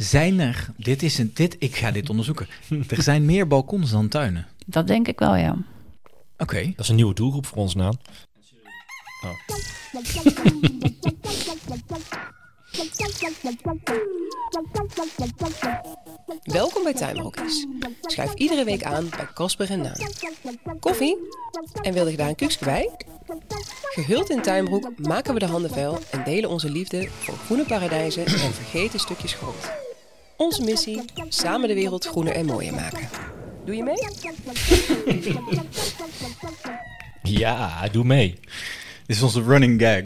Zijn er, dit is een, dit, ik ga dit onderzoeken. er zijn meer balkons dan tuinen. Dat denk ik wel, ja. Oké. Dat is een nieuwe doelgroep voor ons, Naan. Welkom bij Tuinbroekjes. Schuif iedere week aan bij Kasper en Naan. Koffie? En wilde je daar een kuksje bij? Gehuld in tuinbroek maken we de handen vuil en delen onze liefde voor groene paradijzen en vergeten stukjes grond. Onze missie: samen de wereld groener en mooier maken. Doe je mee? Ja, doe mee. Dit is onze running gag.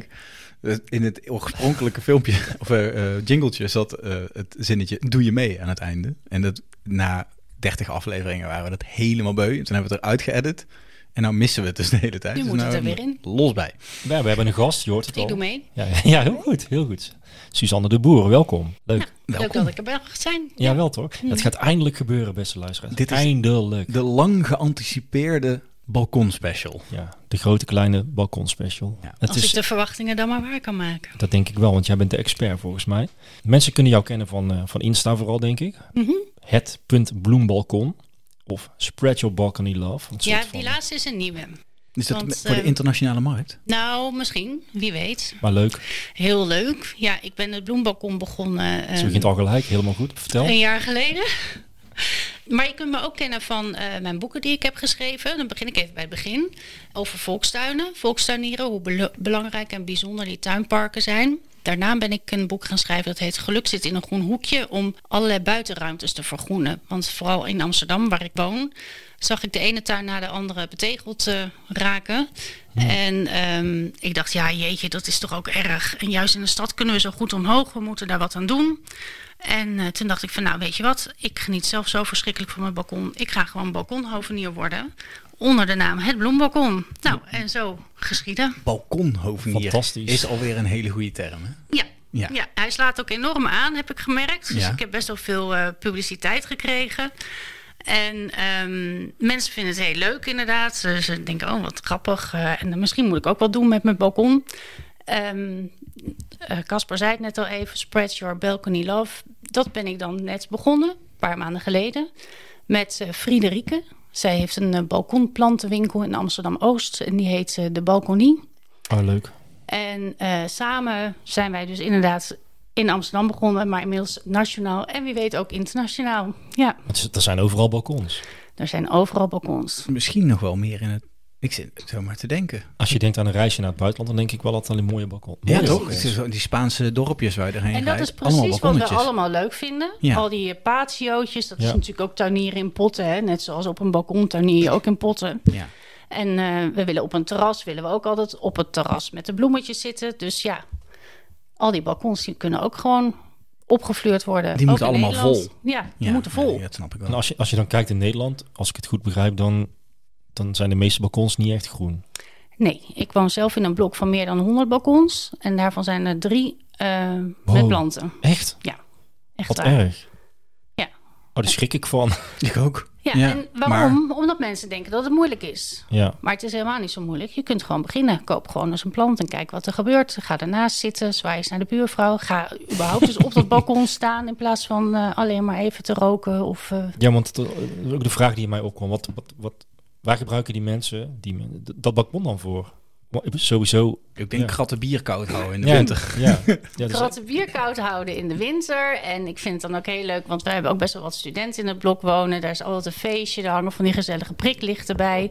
Eh, In het oorspronkelijke filmpje of eh, eh, jingletje zat eh, het zinnetje doe je mee aan het einde. En dat na 30 afleveringen waren we dat helemaal beu. Toen hebben we het eruit geëdit. En nou missen we het dus de hele tijd. Nu Dus moet het nou er weer in. Los bij. Ja, we hebben een gast, je hoort het Ik al. doe mee. Ja, ja, heel goed, heel goed. Suzanne de Boer, welkom. Leuk. Leuk Welkom. dat ik erbij mag zijn. Ja, wel toch? Het gaat eindelijk gebeuren, beste luisteraars. Dit is- eindelijk. De lang geanticipeerde balkonspecial. Ja, de grote kleine balkonspecial. Ja. Het Als is, ik de verwachtingen dan maar waar kan maken. Dat denk ik wel, want jij bent de expert volgens mij. Mensen kunnen jou kennen van, eh, van Insta vooral, denk ik. Mhm. Het punt bloembalkon. Of Spread Your Balcony Love. Een Ja, soort die van- laatste is een nieuwe. Is dat Want, voor de eh, internationale markt? Nou, misschien. Wie weet. Maar leuk. Heel leuk. Ja, ik ben het bloembalkon begonnen. eh, Ze begint al gelijk, helemaal goed. Vertel. Een jaar geleden. Maar je kunt me ook kennen van eh, mijn boeken die ik heb geschreven. Dan begin ik even bij het begin. Over volkstuinen, volkstuinieren, hoe belo- belangrijk en bijzonder die tuinparken zijn. Daarna ben ik een boek gaan schrijven dat heet Geluk zit in een groen hoekje om allerlei buitenruimtes te vergroenen. Want vooral in Amsterdam, waar ik woon, zag ik de ene tuin na de andere betegeld eh, raken. En ehm, ik dacht, ja jeetje, dat is toch ook erg. En juist in de stad kunnen we zo goed omhoog, we moeten daar wat aan doen. En eh, toen dacht ik van, nou weet je wat, ik geniet zelf zo verschrikkelijk van mijn balkon. Ik ga gewoon balkonhovenier worden. Onder de naam Het Bloembalkon. Nou, en zo geschieden. Balkonhovenier Fantastisch. is alweer een hele goede term. Hè? Ja. Ja. Ja. hij slaat ook enorm aan, heb ik gemerkt. Dus Ja. ik heb best wel veel eh, publiciteit gekregen. En ehm, mensen vinden het heel leuk inderdaad. Ze, ze denken, oh wat grappig. eh, en misschien moet ik ook wat doen met mijn balkon. Ehm, eh, Casper zei het net al even, Spread Your Balcony Love. Dat ben ik dan net begonnen, een paar maanden geleden, met eh, Friederike. Zij heeft een eh, balkonplantenwinkel in Amsterdam-Oost en die heet eh, De Balkonie. Oh, leuk. En eh, samen zijn wij dus inderdaad in Amsterdam begonnen, maar inmiddels nationaal en wie weet ook internationaal. Ja, Het is- er zijn overal balkons. er zijn overal balkons. Misschien nog wel meer in het... Ik zit zo maar te denken. Als je denkt aan een reisje naar het buitenland, dan denk ik wel altijd een mooie balkon. Ja, Mooie toch? balkons. Het is zo- Die Spaanse dorpjes waar je erheen En dat rijdt, is precies wat we balkonnetjes. allemaal leuk vinden. Ja. Al die eh, patiootjes, dat Ja. is natuurlijk ook tuinieren in potten. Hè? Net zoals op een balkon tuinier je ook in potten. Ja. En eh, we willen op een terras, willen we ook altijd op het terras met de bloemetjes zitten. Dus ja, al die balkons die kunnen ook gewoon opgefleurd worden. Die Ook moeten in allemaal Nederland. vol. Ja, die moeten vol. dat snap ik En wel. als je, als je dan kijkt in Nederland, als ik het goed begrijp, dan, dan zijn de meeste balkons niet echt groen. Nee, ik woon zelf in een blok van meer dan 100 balkons. En daarvan zijn er drie eh, Wow. met planten. Echt? Echt Wat waar. erg. Ja. Oh, daar schrik ik van. Ik ook. Ja, Ja, en waarom? Omdat mensen denken dat het moeilijk is. Ja. Maar het is helemaal niet zo moeilijk. Je kunt gewoon beginnen. Koop gewoon eens een plant en kijk wat er gebeurt. Ga ernaast zitten, zwaai eens naar de buurvrouw. Ga überhaupt eens op dat balkon staan in plaats van eh, alleen maar even te roken. Of, eh, Ja, want dat is ook de vraag die in mij opkwam. Wat, wat, wat, waar gebruiken die mensen die, men- d- dat balkon dan voor? Wa- Sowieso. Ik denk Ja. kratten bier koud houden in de Ja, winter. Ja, ja, dus dat is- kratten bier koud houden in de winter. En ik vind het dan ook heel leuk, want wij hebben ook best wel wat studenten in het blok wonen. Daar is altijd een feestje, daar hangen van die gezellige priklichten bij.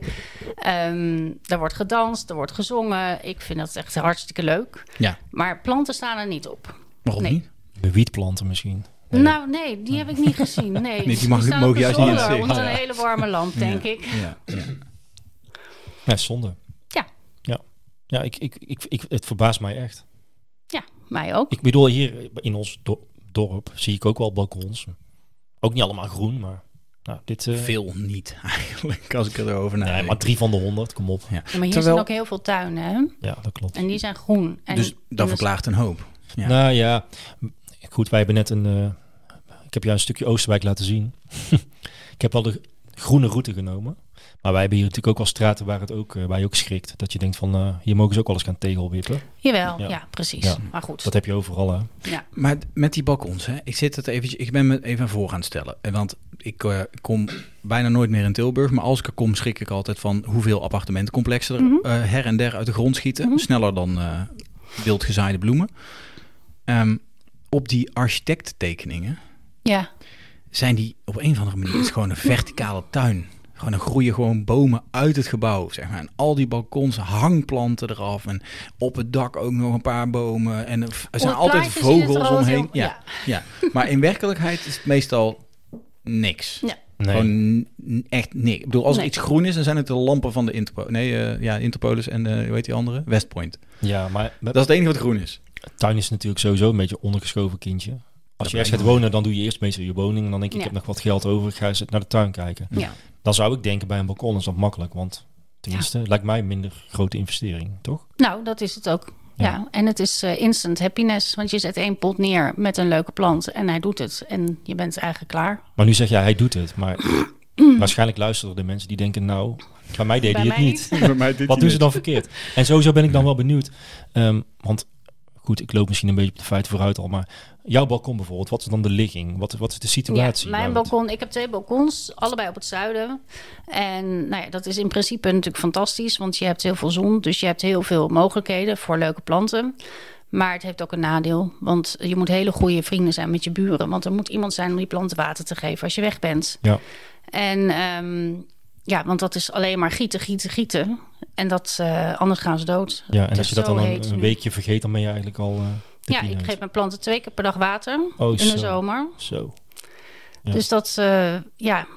Ehm er wordt gedanst, er wordt gezongen. Ik vind dat echt hartstikke leuk. Ja, Maar planten staan er niet op. waarom Nee. niet? de wietplanten misschien. Nou, nee, die heb ik niet gezien. Nee, die mag- staan mogen op de juist niet in het zolder zicht. onder een hele warme lamp, denk ik. Ja, ja. Ja, zonde. Ja. Ja, ja ik, ik, ik, ik, het verbaast mij echt. Ja, mij ook. Ik bedoel, hier in ons do- dorp zie ik ook wel balkons. Ook niet allemaal groen, maar nou, dit... eh, Veel niet eigenlijk, als ik erover nee, nadenk. maar drie van de honderd, kom op. Ja, maar hier Terwijl- zijn ook heel veel tuinen, hè? Ja, dat klopt. En die zijn groen. En dus en dat verklaart een hoop. Ja. Nou ja, m- goed, wij hebben net een... eh, ik heb jou een stukje Oosterwijk laten zien. ik heb wel de groene route genomen. Maar wij hebben hier natuurlijk ook wel straten waar, het ook, eh, waar je ook schrikt. Dat je denkt van, eh, hier mogen ze ook alles gaan tegelwippen. Jawel, Ja. ja, precies. Ja. Maar goed. Dat heb je overal, hè. Ja. Maar d- met die balkons, hè? ik zit het eventjes, ik ben me even voor aan het stellen. En Want ik eh, kom bijna nooit meer in Tilburg, maar als ik er kom, schrik ik altijd van hoeveel appartementencomplexen er eh, her en der uit de grond schieten. Sneller dan eh, wild gezaaide bloemen. Ehm, op die architecttekeningen ja. zijn die op een of andere manier het is gewoon een verticale tuin. Gewoon, er groeien gewoon bomen uit het gebouw, zeg maar. En al die balkons, hangplanten eraf. En op het dak ook nog een paar bomen. En er v- er zijn het altijd plaatje zie je het er vogels altijd omheen. heel- ja, ja. Maar in werkelijkheid is het meestal niks. ja. Nee. Gewoon n- echt niks. Ik bedoel, als er Nee. iets groen is, dan zijn het de lampen van de Interpo nee, eh, ja, Interpolis en eh hoe heet die andere? West Point. Ja, maar Dat is het enige wat groen is. tuin is natuurlijk sowieso een beetje ondergeschoven kindje. Als je brengt eerst gaat wel. wonen, dan doe je eerst meestal je woning. En dan denk je, ik Ja. heb nog wat geld over, ik ga eens naar de tuin kijken. Ja. Dan zou ik denken, bij een balkon is dat makkelijk. Want tenminste, lijkt mij een minder grote investering, toch? Nou, dat is het ook. Ja, Ja. en het is eh, instant happiness. Want je zet één pot neer met een leuke plant en hij doet het. En je bent eigenlijk klaar. Maar nu zeg jij, hij doet het. Maar waarschijnlijk luisteren er de mensen die denken, nou, bij mij deed Bij hij het mij niet. Wat doen ze dan verkeerd? En sowieso ben ik dan wel benieuwd. Ehm, want goed, ik loop misschien een beetje op de feiten vooruit al. Maar jouw balkon bijvoorbeeld, wat is dan de ligging? Wat, wat is de situatie? Ja, mijn waar we het- balkon. Ik heb twee balkons, allebei op het zuiden. En nou ja, dat is in principe natuurlijk fantastisch, want je hebt heel veel zon, dus je hebt heel veel mogelijkheden voor leuke planten. Maar het heeft ook een nadeel, want je moet hele goede vrienden zijn met je buren, want er moet iemand zijn om die planten water te geven als je weg bent. Ja. En ehm, ja, want dat is alleen maar gieten, gieten, gieten. En dat, eh, anders gaan ze dood. Ja, en Het als is je dat zo dan een, heet een nu. weekje vergeet, dan ben je eigenlijk al. eh, de Ja, pien ik uit. geef mijn planten twee keer per dag water Oh, in zo. de zomer. Zo. Ja. Dus dat, eh, ja, Ja,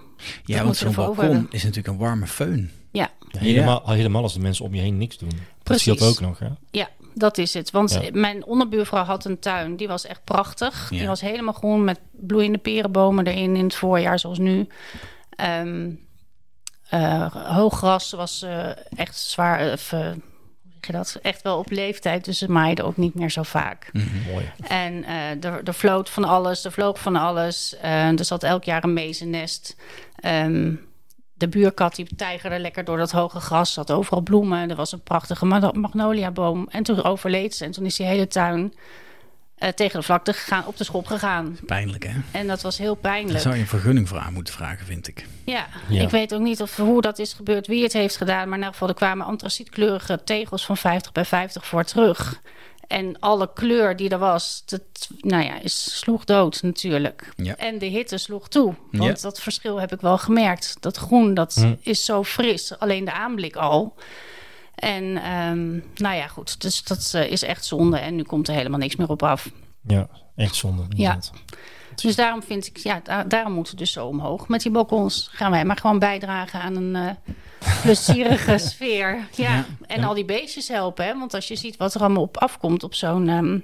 want moeten zo'n we voor balkon hebben. is natuurlijk een warme föhn. ja. Ja, helemaal, al helemaal als de mensen om je heen niks doen. Dat Precies. scheelt ook nog, hè? Ja, dat is het. Want Ja. mijn onderbuurvrouw had een tuin. Die was echt prachtig. Ja. Die was helemaal groen met bloeiende perenbomen erin in het voorjaar, zoals nu. Ehm eh, hoog gras was eh, echt zwaar. Of, eh, hoe zeg je dat? Echt wel op leeftijd, dus ze maaiden ook niet meer zo vaak. Mooi. En eh, er, er floot van alles, er vloog van alles. Eh, er zat elk jaar een mezennest. Ehm, de buurkat die tijgerde lekker door dat hoge gras. Zat overal bloemen. Er was een prachtige ma- magnoliaboom. En toen overleed ze. En toen is die hele tuin eh, tegen de vlakte gegaan, op de schop gegaan. Pijnlijk, hè? En dat was heel Daar pijnlijk. zou je een vergunning voor aan moeten vragen, vind ik. Ja, Ja. ik weet ook niet of, hoe dat is gebeurd, wie het heeft gedaan. Maar in ieder geval, er kwamen antracietkleurige tegels van 50 bij 50 voor terug. En alle kleur die er was, dat, nou ja, is, sloeg dood natuurlijk. Ja. En de hitte sloeg toe. Want Ja. Hm. dat verschil heb ik wel gemerkt. Dat groen, dat is zo fris. Alleen de aanblik al. En ehm, nou ja, goed. Dus dat eh, is echt zonde. En nu komt er helemaal niks meer op af. Ja, echt zonde. inderdaad. Dus daarom vind ik, ja, da- daarom moeten we dus zo omhoog. Met die balkons gaan wij maar gewoon bijdragen aan een eh, plezierige sfeer. Ja. En al die beestjes helpen, hè? want als je ziet wat er allemaal op afkomt op zo'n ehm,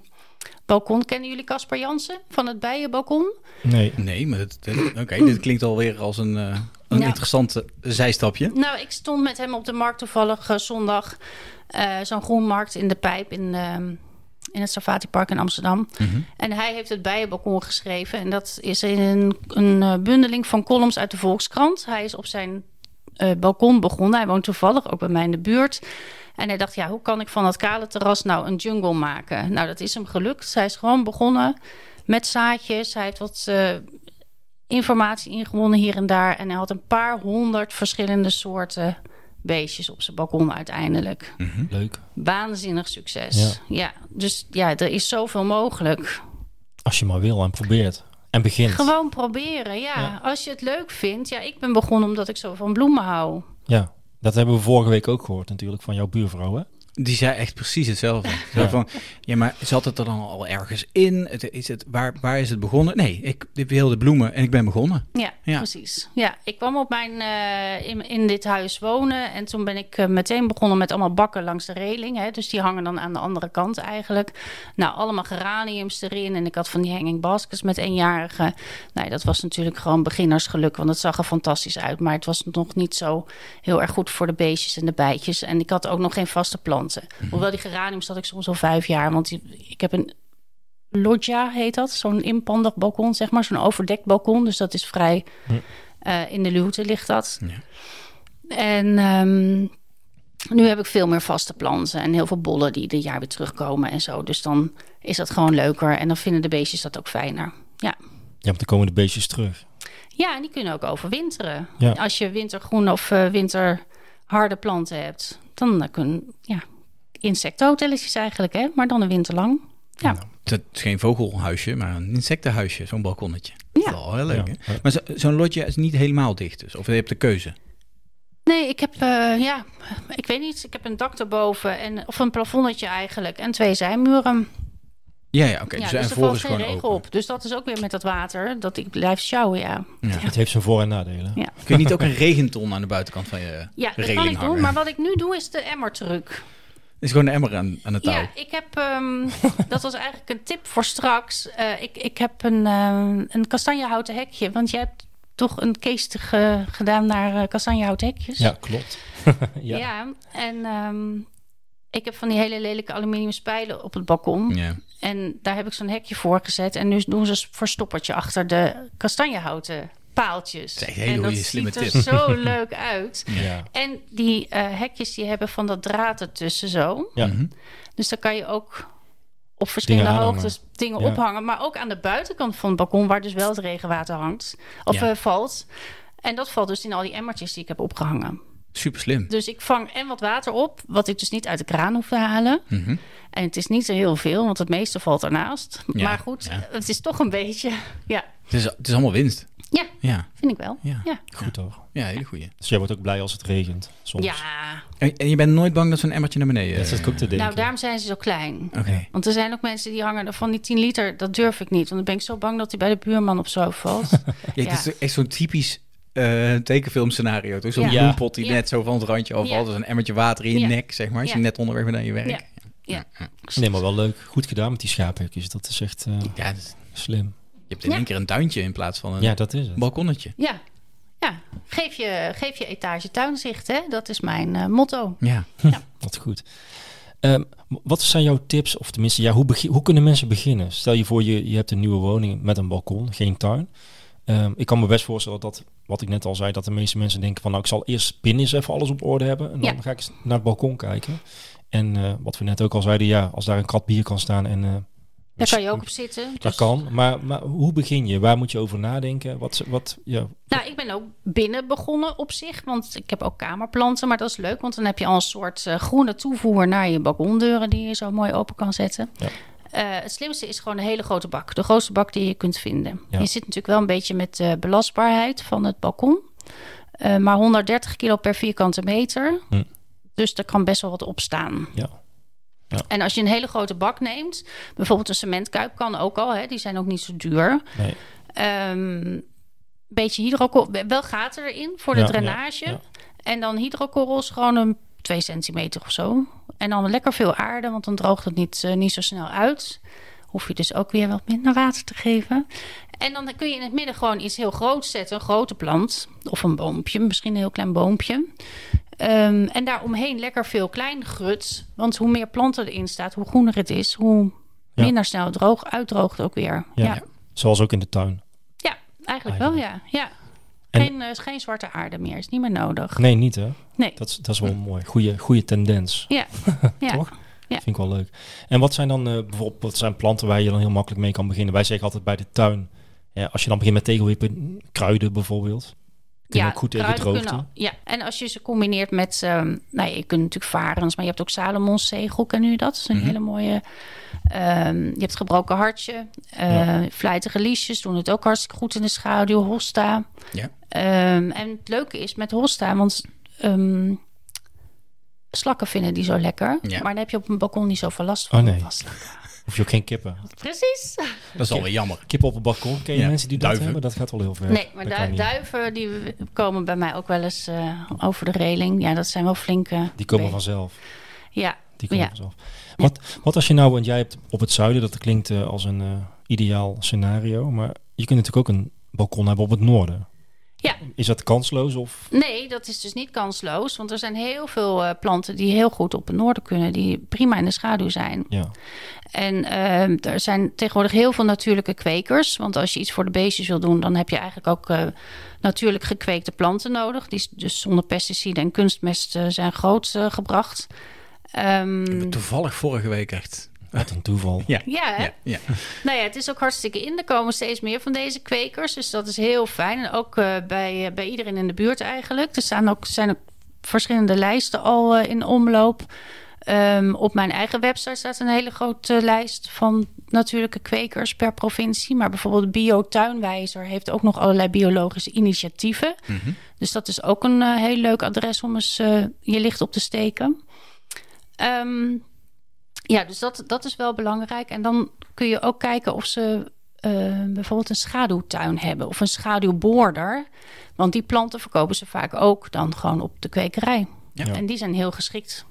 balkon. Kennen jullie Casper Jansen van het bijenbalkon? Nee. Nee, maar het, het- oké, dit klinkt alweer als een, eh, een Ja. interessante zijstapje. Nou, ik stond met hem op de markt toevallig eh, zondag. eh, Zo'n groenmarkt in de Pijp in, ehm, in het Savatipark in Amsterdam. En hij heeft het bijenbalkon geschreven. En dat is een, een eh, bundeling van columns uit de Volkskrant. Hij is op zijn eh, balkon begonnen. Hij woont toevallig ook bij mij in de buurt. En hij dacht, ja, hoe kan ik van dat kale terras nou een jungle maken? Nou, dat is hem gelukt. Hij is gewoon begonnen met zaadjes. Hij heeft wat eh, informatie ingewonnen hier en daar. En hij had een paar honderd verschillende soorten beestjes op zijn balkon uiteindelijk. Leuk. Waanzinnig succes. Ja. dus ja, er is zoveel mogelijk. Als je maar wil en probeert. En begint. Gewoon proberen, ja. Ja. Als je het leuk vindt. Ja, ik ben begonnen omdat ik zo van bloemen hou. Ja. Dat hebben we vorige week ook gehoord natuurlijk van jouw buurvrouw, hè? Die zei echt precies hetzelfde. Zo Ja. Van, ja, maar zat het er dan al ergens in? Het, is het, waar, waar is het begonnen? Nee, ik ik wilde bloemen en ik ben begonnen. Ja, Ja. precies. Ja, ik kwam op mijn, eh, in, in dit huis wonen. En toen ben ik eh, meteen begonnen met allemaal bakken langs de reling. Hè, dus die hangen dan aan de andere kant eigenlijk. Nou, allemaal geraniums erin. En ik had van die hanging baskets met eenjarige. Nou, dat was natuurlijk gewoon beginnersgeluk. Want het zag er fantastisch uit. Maar het was nog niet zo heel erg goed voor de beestjes en de bijtjes. En ik had ook nog geen vaste planten. Hoewel die geraniums had ik soms al vijf jaar. Want die- ik heb een loggia heet dat. Zo'n inpandig balkon, zeg maar. Zo'n overdekt balkon. Dus dat is vrij... eh, in de luwte ligt dat. Ja. En ehm, nu heb ik veel meer vaste planten en heel veel bollen die ieder jaar weer terugkomen en zo. Dus dan is dat gewoon leuker en dan vinden de beestjes dat ook fijner. Ja, Ja, want dan komen de beestjes terug. ja en die kunnen ook overwinteren. Ja. Als je wintergroen of eh, winterharde planten hebt, dan eh, kunnen ja, insectenhotelletjes eigenlijk, hè? maar dan een winter lang. Ja. Het is geen vogelhuisje, maar een insectenhuisje, zo'n balkonnetje. Dat is wel heel leuk, Ja. hè? Maar zo- zo'n lotje is niet helemaal dicht dus. Of je hebt de keuze. Nee, ik heb, eh, ja, ik weet niet. Ik heb een dak erboven, en, of een plafonnetje eigenlijk, en twee zijmuren. Ja, ja, oké. ja, dus dus en er valt volgens geen gewoon regel open. op. Dus dat is ook weer met dat water, dat ik blijf sjouwen, ja. Het heeft zijn voor- en nadelen. Ja, Kun je niet ook een regenton aan de buitenkant van je ja dat regeling kan ik hangen? doen. Maar wat ik nu doe, is de emmertruc. Is gewoon een emmer aan, aan het touw. Ja, ik heb, ehm, dat was eigenlijk een tip voor straks. Eh, ik, ik heb een, ehm, een kastanjehouten hekje, want jij hebt toch een case te ge- gedaan naar eh, kastanjehouten hekjes. Ja, klopt. ja. Ja, en ehm, ik heb van die hele lelijke aluminium spijlen op het balkon. Ja. En daar heb ik zo'n hekje voor gezet. En nu doen ze een verstoppertje achter de kastanjehouten paaltjes. Dat is echt een hele en dat goeie, slimme ziet er tip. zo leuk uit. Ja. En die eh, hekjes die hebben van dat draad ertussen zo. Ja. Dus dan kan je ook op verschillende aanhangen. hoogtes dingen Ja. ophangen. Maar ook aan de buitenkant van het balkon, waar dus wel het regenwater hangt. Of Ja. eh, valt. En dat valt dus in al die emmertjes die ik heb opgehangen. Super slim. Dus ik vang en wat water op, wat ik dus niet uit de kraan hoef te halen. Mhm. En het is niet zo heel veel, want het meeste valt ernaast. Ja, maar goed, ja. het is toch een beetje. Ja, Het, is, het is allemaal winst. ja Ja, vind ik wel. Ja. Ja. Ja. Goed hoor. ja hele goeie. Dus jij wordt ook blij als het regent soms. En, en je bent nooit bang dat zo'n emmertje naar beneden... eh, Dat zit ik ook te denken. nou daarom zijn ze zo klein. Oké. Want er zijn ook mensen die hangen er van die 10 liter. Dat durf ik niet, want dan ben ik zo bang dat hij bij de buurman op zo valt. Ja, het is echt zo'n typisch eh tekenfilmscenario. Toch? Zo'n Ja. bloempot die Ja. net zo van het randje afvalt. Ja. Dus een emmertje water in je Ja. nek, zeg maar. Als je Ja. net onderweg bent aan je werk. Ja. Ja, ja. Nee, maar wel leuk. Goed gedaan met die schaaphekjes. Dat is echt eh, dat is- slim. dus je hebt in één keer een tuintje in plaats van een Ja, dat is het. balkonnetje. ja. ja. Geef, je, geef je etage tuinzicht, hè? dat is mijn eh, motto. Ja. Wat goed. Ehm, wat zijn jouw tips? Of tenminste, ja, hoe, begin- hoe kunnen mensen beginnen? Stel je voor, je, je hebt een nieuwe woning met een balkon, geen tuin. Ehm, ik kan me best voorstellen dat, wat ik net al zei, dat de meeste mensen denken van nou, ik zal eerst binnen eens even alles op orde hebben. En dan Ja. ga ik eens naar het balkon kijken. En eh, wat we net ook al zeiden, ja, als daar een krat bier kan staan en... eh, Daar kan je ook op zitten. Dat dus- kan, maar, maar hoe begin je? Waar moet je over nadenken? Wat, wat, ja, Nou, ik ben ook binnen begonnen op zich, want ik heb ook kamerplanten, maar dat is leuk, want dan heb je al een soort eh, groene toevoer naar je balkondeuren die je zo mooi open kan zetten. Ja. Eh, het slimste is gewoon een hele grote bak, de grootste bak die je kunt vinden. Ja. Je zit natuurlijk wel een beetje met de belastbaarheid van het balkon, eh, maar 130 kilo per vierkante meter, Hm. dus er kan best wel wat op staan. ja, En als je een hele grote bak neemt, bijvoorbeeld een cementkuip kan ook al, hè, die zijn ook niet zo duur. nee. Ehm beetje hydrokorrel, wel gaten erin voor de Ja, drainage. ja, ja. En dan hydrokorrels gewoon een 2 centimeter of zo. En dan lekker veel aarde, want dan droogt het niet, eh, niet zo snel uit. Hoef je dus ook weer wat minder water te geven. En dan kun je in het midden gewoon iets heel groots zetten. Een grote plant of een boompje, misschien een heel klein boompje. Ehm en daaromheen lekker veel klein grut. Want hoe meer planten erin staat, hoe groener het is, hoe Ja. minder snel het droog, uitdroogt ook weer. Ja. ja. Zoals ook in de tuin. Ja, eigenlijk wel, ja. ja. En- Geen, eh, geen zwarte aarde meer, is niet meer nodig. Nee, niet hè? Nee. Dat, is- dat is wel mooi. Goede, goede tendens. Ja, ja. Toch? Ja. Vind ik wel leuk. En wat zijn dan eh, bijvoorbeeld wat zijn planten waar je dan heel makkelijk mee kan beginnen? Wij zeggen altijd bij de tuin, eh, als je dan begint met tegelwippen, kruiden bijvoorbeeld. Kunnen ja, ook goed tegen kruiden droogte. kunnen- Ja, en als je ze combineert met, ehm nou, ja, je kunt natuurlijk varens, maar je hebt ook Salomonszegel, kennen jullie dat? Dat is een Mhm. hele mooie. ehm, je hebt gebroken hartje, eh vlijtige liesjes doen het ook hartstikke goed in de schaduw, hosta. Ja. Ehm, en het leuke is met hosta, want ehm, slakken vinden die zo lekker, Ja. maar dan heb je op een balkon niet zoveel last van. Oh, nee. van slakken. Hoef je ook geen kippen. Precies. Dat is alweer jammer. Kippen op het balkon, ken je Ja, mensen die duiven. dat hebben? Dat gaat wel heel ver. Nee, maar Dat du- kan niet. duiven die w- komen bij mij ook wel eens eh, over de reling. Ja, dat zijn wel flinke. Die komen be- vanzelf. Ja, Die komen ja. vanzelf. Wat, wat als je nou, want jij hebt op het zuiden, dat klinkt eh, als een eh, ideaal scenario, maar je kunt natuurlijk ook een balkon hebben op het noorden. Ja. Is dat kansloos of Nee, dat is dus niet kansloos. Want er zijn heel veel eh, planten die heel goed op het noorden kunnen. Die prima in de schaduw zijn. ja? En ehm, er zijn tegenwoordig heel veel natuurlijke kwekers. Want als je iets voor de beestjes wil doen, dan heb je eigenlijk ook eh, natuurlijk gekweekte planten nodig. Die s- dus zonder pesticiden en kunstmest eh, zijn grootgebracht. gebracht. Ehm, Ik ben toevallig vorige week echt... Wat een toeval. Ja, ja, hè? ja, ja. Nou ja, het is ook hartstikke in. Er komen steeds meer van deze kwekers. Dus dat is heel fijn. En ook eh, bij, eh, bij iedereen in de buurt eigenlijk. Er staan ook, zijn ook verschillende lijsten al eh, in omloop. Ehm, op mijn eigen website staat een hele grote lijst van natuurlijke kwekers per provincie. Maar bijvoorbeeld Biotuinwijzer heeft ook nog allerlei biologische initiatieven. Mhm. Dus dat is ook een eh, heel leuk adres om eens eh, je licht op te steken. Ehm, ja, dus dat, dat is wel belangrijk. En dan kun je ook kijken of ze eh, bijvoorbeeld een schaduwtuin hebben of een schaduwboorder. Want die planten verkopen ze vaak ook dan gewoon op de kwekerij. Ja. En die zijn heel geschikt.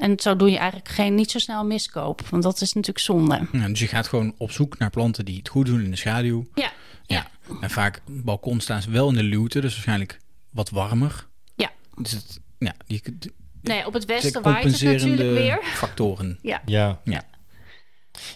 En zo doe je eigenlijk geen, niet zo snel miskoop, want dat is natuurlijk zonde. Ja, dus je gaat gewoon op zoek naar planten die het goed doen in de schaduw. Ja, Ja. En vaak balkon staan ze wel in de luwte, dus waarschijnlijk wat warmer. ja. Dus het, ja, die, de Nee, op het westen waait het natuurlijk compenserende weer. factoren. Ja. Ja. Ja.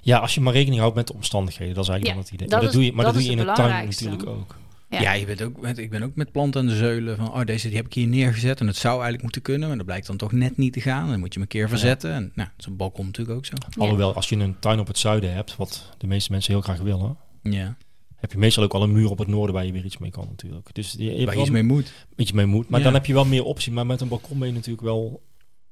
ja, als je maar rekening houdt met de omstandigheden, dat is eigenlijk Ja, dan het idee. dat maar dat is- doe je, maar dat dat doe je is in de het tuin belangrijkste. natuurlijk ook. Ja, Ja. je bent ook met, ik ben ook met planten aan de zeulen. Van, oh, deze die heb ik hier neergezet en het zou eigenlijk moeten kunnen. Maar dat blijkt dan toch net niet te gaan. Dan moet je hem een keer verzetten. En nou, zo'n balkon natuurlijk ook zo. Alhoewel, als je een tuin op het zuiden hebt, wat de meeste mensen heel graag willen, Ja, heb je meestal ook al een muur op het noorden waar je weer iets mee kan natuurlijk. Dus je, je hebt waar je wel iets mee moet. een beetje mee moet. Maar Ja. dan heb je wel meer optie. Maar met een balkon ben je natuurlijk wel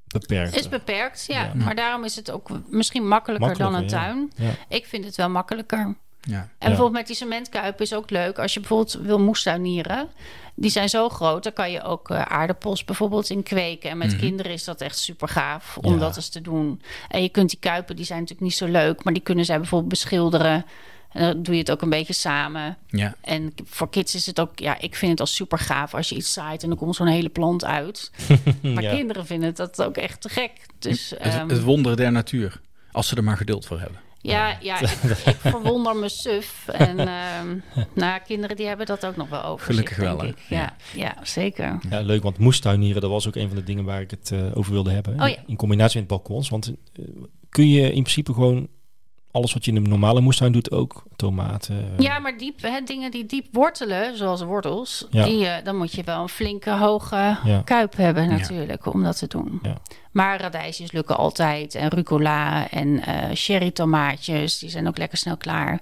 beperkt. Is beperkt, ja. eh, Ja. Maar daarom is het ook misschien makkelijker, dan Makkelijker, een tuin. ja. Ik vind het wel makkelijker. Ja. En bijvoorbeeld met die cementkuip is ook leuk. Als je bijvoorbeeld wil moestuinieren. Die zijn zo groot, dan kan je ook eh, aardappels bijvoorbeeld in kweken. En met kinderen is dat echt super gaaf om Mhm. Ja. dat eens te doen. En je kunt die kuipen, die zijn natuurlijk niet zo leuk. Maar die kunnen zij bijvoorbeeld beschilderen. En dan doe je het ook een beetje samen. Ja. En voor kids is het ook... Ja, ik vind het al super gaaf als je iets zaait... en dan komt zo'n hele plant uit. Maar Ja. kinderen vinden dat ook echt te gek. Dus, ehm, Het, het wonder der natuur. Als ze er maar geduld voor hebben. ja, ja ik, ik verwonder me suf. En ehm nou, kinderen die hebben dat ook nog wel over. zich, Gelukkig wel, denk hè? ik. Ja, ja. zeker. Ja, leuk, want moestuinieren, dat was ook een van de dingen waar ik het eh, over wilde hebben. Oh ja. In combinatie met balkons. Want eh, kun je in principe gewoon alles wat je in de normale moestuin doet ook, tomaten. eh, Ja, maar diep, hè, dingen die diep wortelen, zoals wortels, Ja. die, eh, dan moet je wel een flinke hoge Ja. kuip hebben natuurlijk om dat te doen. Ja. Maar radijsjes lukken altijd en rucola en eh sherry tomaatjes, die zijn ook lekker snel klaar.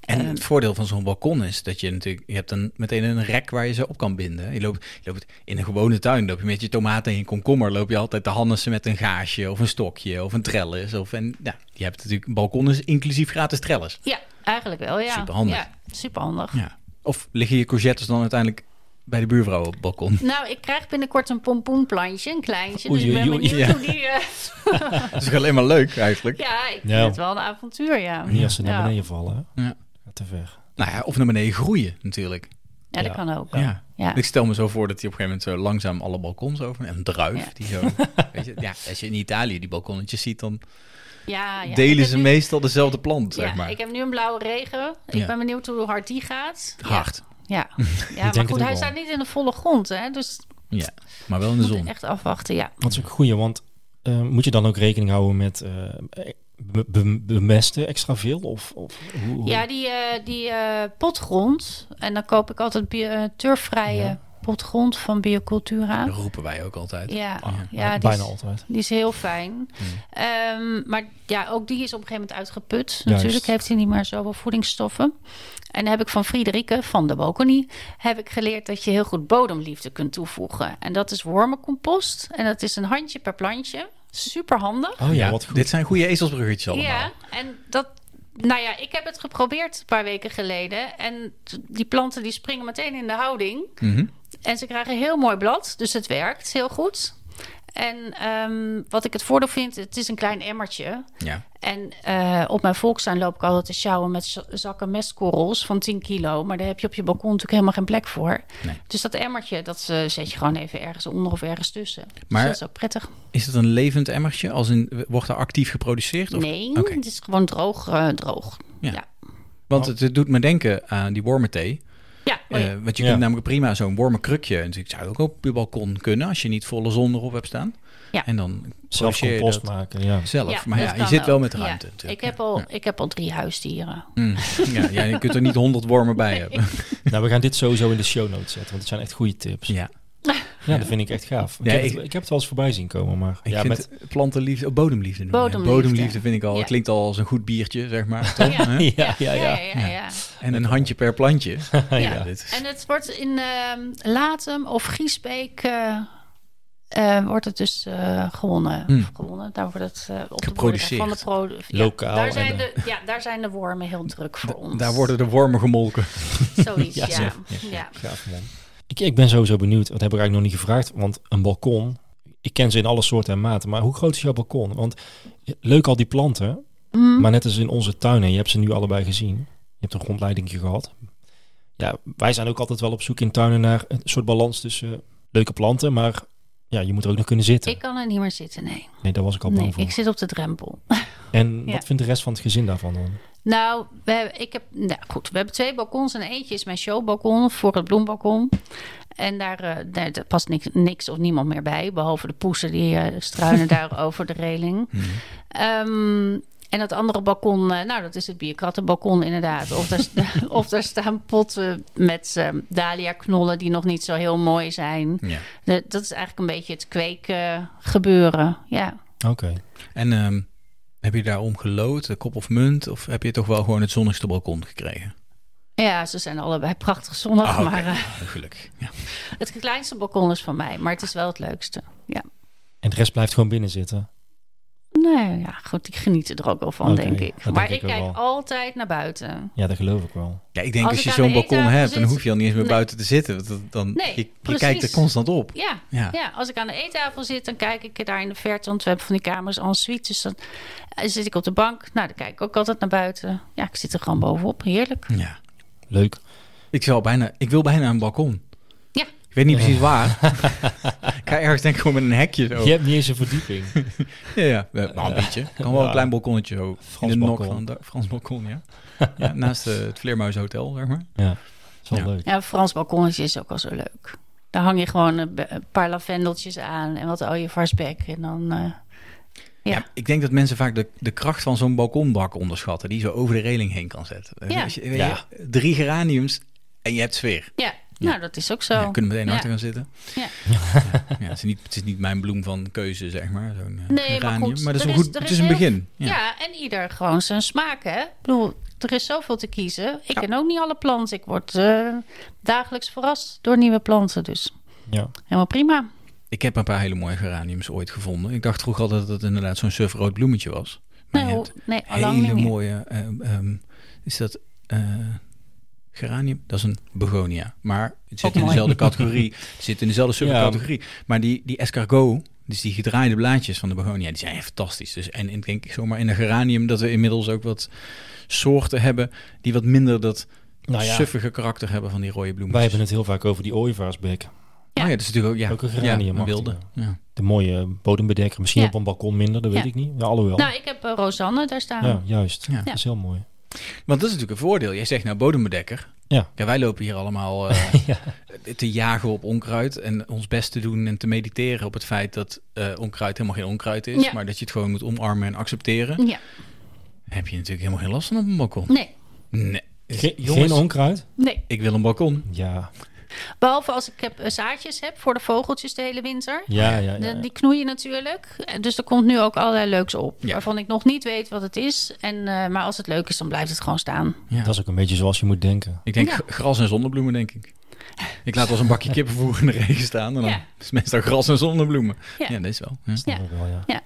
En het voordeel van zo'n balkon is dat je natuurlijk, je hebt een, meteen een rek waar je ze op kan binden. Je loopt, je loopt in een gewone tuin, loop je met je tomaten en je komkommer, loop je altijd te hannissen met een gaasje of een stokje of een trellis. Of en, ja, je hebt natuurlijk, een balkon is inclusief gratis trellis. Ja, eigenlijk wel, ja. Superhandig. Ja, superhandig. Ja. Of liggen je courgettes dan uiteindelijk bij de buurvrouw op het balkon? Nou, ik krijg binnenkort een pompoenplantje, een kleintje. Oei, dus ik ben oei, oei. benieuwd Ja. hoe die... eh, Dat is alleen maar leuk eigenlijk. ja, ik vind Ja. het wel een avontuur, ja. Niet als ze naar Ja. beneden vallen. hè? Ja. Gaat te ver. Nou ja, of naar beneden groeien natuurlijk. Ja, dat Ja. kan ook. Ja. Ja. Ik stel me zo voor dat hij op een gegeven moment zo langzaam alle balkons over. En een druif Ja. die zo. weet je, ja, als je in Italië die balkonnetjes ziet, dan Ja, ja. Ik delen heb ze nu- meestal dezelfde plant, zeg ja, maar. Ik heb nu een blauwe regen. Ik Ja. ben benieuwd hoe hard die gaat. Hard. Ja, ja maar het ook goed, hij wel. staat niet in de volle grond, hè. Dus Ja, maar wel in de moet zon. echt afwachten, ja. Dat is ook een goeie, want eh, moet je dan ook rekening houden met eh, be- be- bemesten extra veel? Of, of hoe, hoe- Ja, die, eh, die eh, potgrond. En dan koop ik altijd bio- eh, turfvrije Ja. potgrond van Biocultura. Dat roepen wij ook altijd. Ja, Ah, ja dus- die, bijna is, altijd. die is heel fijn. Ehm, maar ja, ook die is op een gegeven moment uitgeput. Juist. Natuurlijk heeft hij niet meer zoveel voedingsstoffen. En dan heb ik van Friederike van de Balkonie heb ik geleerd dat je heel goed bodemliefde kunt toevoegen. En dat is wormencompost. En dat is een handje per plantje. Super handig. Oh ja, Ja, wat goed. Dit zijn goede ezelsbruggetjes allemaal. Ja, en dat. Nou ja, ik heb het geprobeerd een paar weken geleden. En t- die planten die springen meteen in de houding. Mhm. En ze krijgen een heel mooi blad, dus het werkt heel goed. En ehm, wat ik het voordeel vind, het is een klein emmertje. Ja. En eh, op mijn volkstuin loop ik altijd te sjouwen met z- zakken mestkorrels van 10 kilo. Maar daar heb je op je balkon natuurlijk helemaal geen plek voor. Nee. Dus dat emmertje, dat eh, zet je gewoon even ergens onder of ergens tussen. Maar- dus dat is ook prettig. Is het een levend emmertje? Als in, wordt er actief geproduceerd? Of? Nee, Oké. het is gewoon droog. eh, droog. Ja. ja. Want het, het doet me denken aan die wormenthee. Oh Ja, mooi. Eh, want je Ja. kunt namelijk prima zo'n warme krukje. En ik zou ook op je balkon kunnen als je niet volle zon erop hebt staan. Ja. En dan Zelf corrigeer dus je compost dat maken, ja. zelf. maar dat ja, je kan zit wel ook. met Ja. ruimte. Ik natuurlijk. heb, al, ik heb al drie huisdieren. Mm. Ja, ja, je kunt er niet honderd wormen bij hebben. Nou, we gaan dit sowieso in de show notes zetten, want het zijn echt goede tips. Ja, Ja, dat vind ik echt gaaf. Ik, Ja, heb ik- het, ik heb het wel eens voorbij zien komen, maar ik ja, vind met, plantenliefde, oh, bodemliefde. noemen we het. Bodemliefde. bodemliefde vind ik al, Ja. het klinkt al als een goed biertje, zeg maar. toch? Ja. Hè? ja, ja, ja. ja, ja. En een handje per plantje. ja. Ja. dit is- En het wordt in ehm, Latem of Giesbeek eh, eh, wordt het dus eh, gewonnen. Hmm. Of gewonnen. Daar wordt het eh, op de Geproduceerd. boerderij Van de produ- ja, Lokaal en, Daar zijn, eh, de, ja, daar zijn de wormen heel druk voor ons. Daar worden de wormen gemolken. Zoiets, Ja, ja. zeg. ja. Gaaf, man. Ik, ik ben sowieso benieuwd, dat heb ik eigenlijk nog niet gevraagd, want een balkon, ik ken ze in alle soorten en maten, maar hoe groot is jouw balkon? Want eh, leuk al die planten, Mm. maar net als in onze tuinen, je hebt ze nu allebei gezien. Je hebt een rondleiding gehad. Ja, wij zijn ook altijd wel op zoek in tuinen naar een soort balans tussen eh, leuke planten, maar ja, je moet er ook nog kunnen zitten. Ik kan er niet meer zitten, nee. nee, daar was ik al bang nee voor. ik zit op de drempel. En Ja. wat vindt de rest van het gezin daarvan dan? Nou, we, hebben- ik heb, nou goed, we hebben twee balkons. En eentje is mijn showbalkon voor het bloembalkon. En daar, eh, daar daar past niks, niks of niemand meer bij. Behalve de poezen die eh, struinen daar over de reling. Mm, Ehm, en dat andere balkon, eh, nou dat is het bierkrattenbalkon inderdaad. Of daar, sta- of daar staan potten met eh, dahlia-knollen die nog niet zo heel mooi zijn. Ja. De- dat is eigenlijk een beetje het kweken eh, gebeuren. Ja. Oké. En ehm, heb je daarom gelood, de kop of munt? Of heb je toch wel gewoon het zonnigste balkon gekregen? ja, ze zijn allebei prachtig zonnig. Ah, oké. Maar eh, Gelukkig. Ja. Het kleinste balkon is van mij, maar het is wel het leukste. Ja. En de rest blijft gewoon binnen zitten. Nou ja, goed, ik geniet er ook wel van, Oké, denk dat ik. denk Maar ik ik ook kijk wel. altijd naar buiten. Ja, dat geloof ik wel. Ja, ik denk als, Als je ik aan zo'n de balkon eettafel hebt, dan zit- hoef je al niet eens meer Nee. buiten te zitten. want dat- Dan, Nee, je, je precies. kijkt er constant op. Ja, Ja. ja. als ik aan de eettafel zit, dan kijk ik daar in de verte. Want we hebben van die kamers en suite. Dus dan eh, zit ik op de bank. Nou, dan kijk ik ook altijd naar buiten. Ja, ik zit er gewoon bovenop. Heerlijk. Ja. Leuk. Ik, zou bijna, ik wil bijna een balkon. Ja. Ik weet niet precies waar. ik ga ergens denk ik gewoon met een hekje zo. Je hebt niet eens een verdieping. Ja, ja. Eh, Nou, een beetje. Kan wel Ja. een klein balkonnetje zo. Frans in de nok balkon. van de- Frans balkon, ja. ja naast eh, het Vleermuis Hotel, zeg maar. ja, dat is wel Ja. leuk. Ja, een Frans balkonnetje is ook al zo leuk. Daar hang je gewoon een be- een paar lavendeltjes aan en wat ooievaarsbek. En dan... eh, Ja. Ja. ik denk dat mensen vaak de, de kracht van zo'n balkonbak onderschatten, die je zo over de reling heen kan zetten. En Ja. als je- weet Ja. je, drie geraniums en je hebt sfeer. ja, nou, dat is ook zo. Ja, je kunt meteen Ja. achter gaan zitten. Ja. Ja, het, is niet, het is niet mijn bloem van keuze, zeg maar. Zo'n eh, maar geranium. goed, dat is er een, is- goed, er het is is een heel- begin. Ja. Ja. en ieder gewoon zijn smaak, hè? Ik bedoel, er is zoveel te kiezen. Ik ken ook niet alle planten. Ik word eh, dagelijks verrast door nieuwe planten, dus Ja. helemaal prima. Ik heb een paar hele mooie geraniums ooit gevonden. Ik dacht vroeger altijd dat het inderdaad zo'n sufrood bloemetje was. Maar je Nou, hebt nee, al lang hele niet meer. mooie... ehm, ehm, is dat... eh, Geranium, dat is een begonia. Maar het zit Ook in mooi. dezelfde categorie. Het zit in dezelfde subcategorie. Maar die, die escargot, dus die gedraaide blaadjes van de begonia, die zijn echt fantastisch. Dus, en ik denk zomaar in de geranium dat we inmiddels ook wat soorten hebben... die wat minder dat Nou ja, suffige karakter hebben van die rode bloemen. wij hebben het heel vaak over die ooievaarsbek. ja. ja, dat is natuurlijk ook, ja, Ook een ja, geranium een wilde. achter, Ja. De mooie bodembedekker. Misschien Ja. op een balkon minder, dat weet Ja. ik niet. Ja, alhoewel. Nou, ik heb eh, Rosanne daar staan. ja, juist. Ja. Dat is heel mooi. Want dat is natuurlijk een voordeel. Jij zegt nou bodembedekker. Ja. Ja, wij lopen hier allemaal eh, te jagen op onkruid en ons best te doen en te mediteren op het feit dat eh, onkruid helemaal geen onkruid is, Ja. maar dat je het gewoon moet omarmen en accepteren. Ja. Heb je natuurlijk helemaal geen last van op een balkon. Nee, Nee. Ge- Jongens, Geen onkruid? nee. ik wil een balkon. Ja. Behalve als ik heb, eh, zaadjes heb voor de vogeltjes de hele winter. Ja, ja, ja. De- die knoeien natuurlijk. Eh, Dus er komt nu ook allerlei leuks op. Ja. Waarvan ik nog niet weet wat het is. En, eh, maar als het leuk is, dan blijft het gewoon staan. Ja. Dat is ook een beetje zoals je moet denken. Ik denk Ja. g- gras en zonnebloemen, denk ik. Ik laat als een bakje kippenvoer in de regen staan en dan Ja. is meestal gras en zonnebloemen. Ja, Ja. dat is wel. Ja. Dat ook wel, ja. Ja.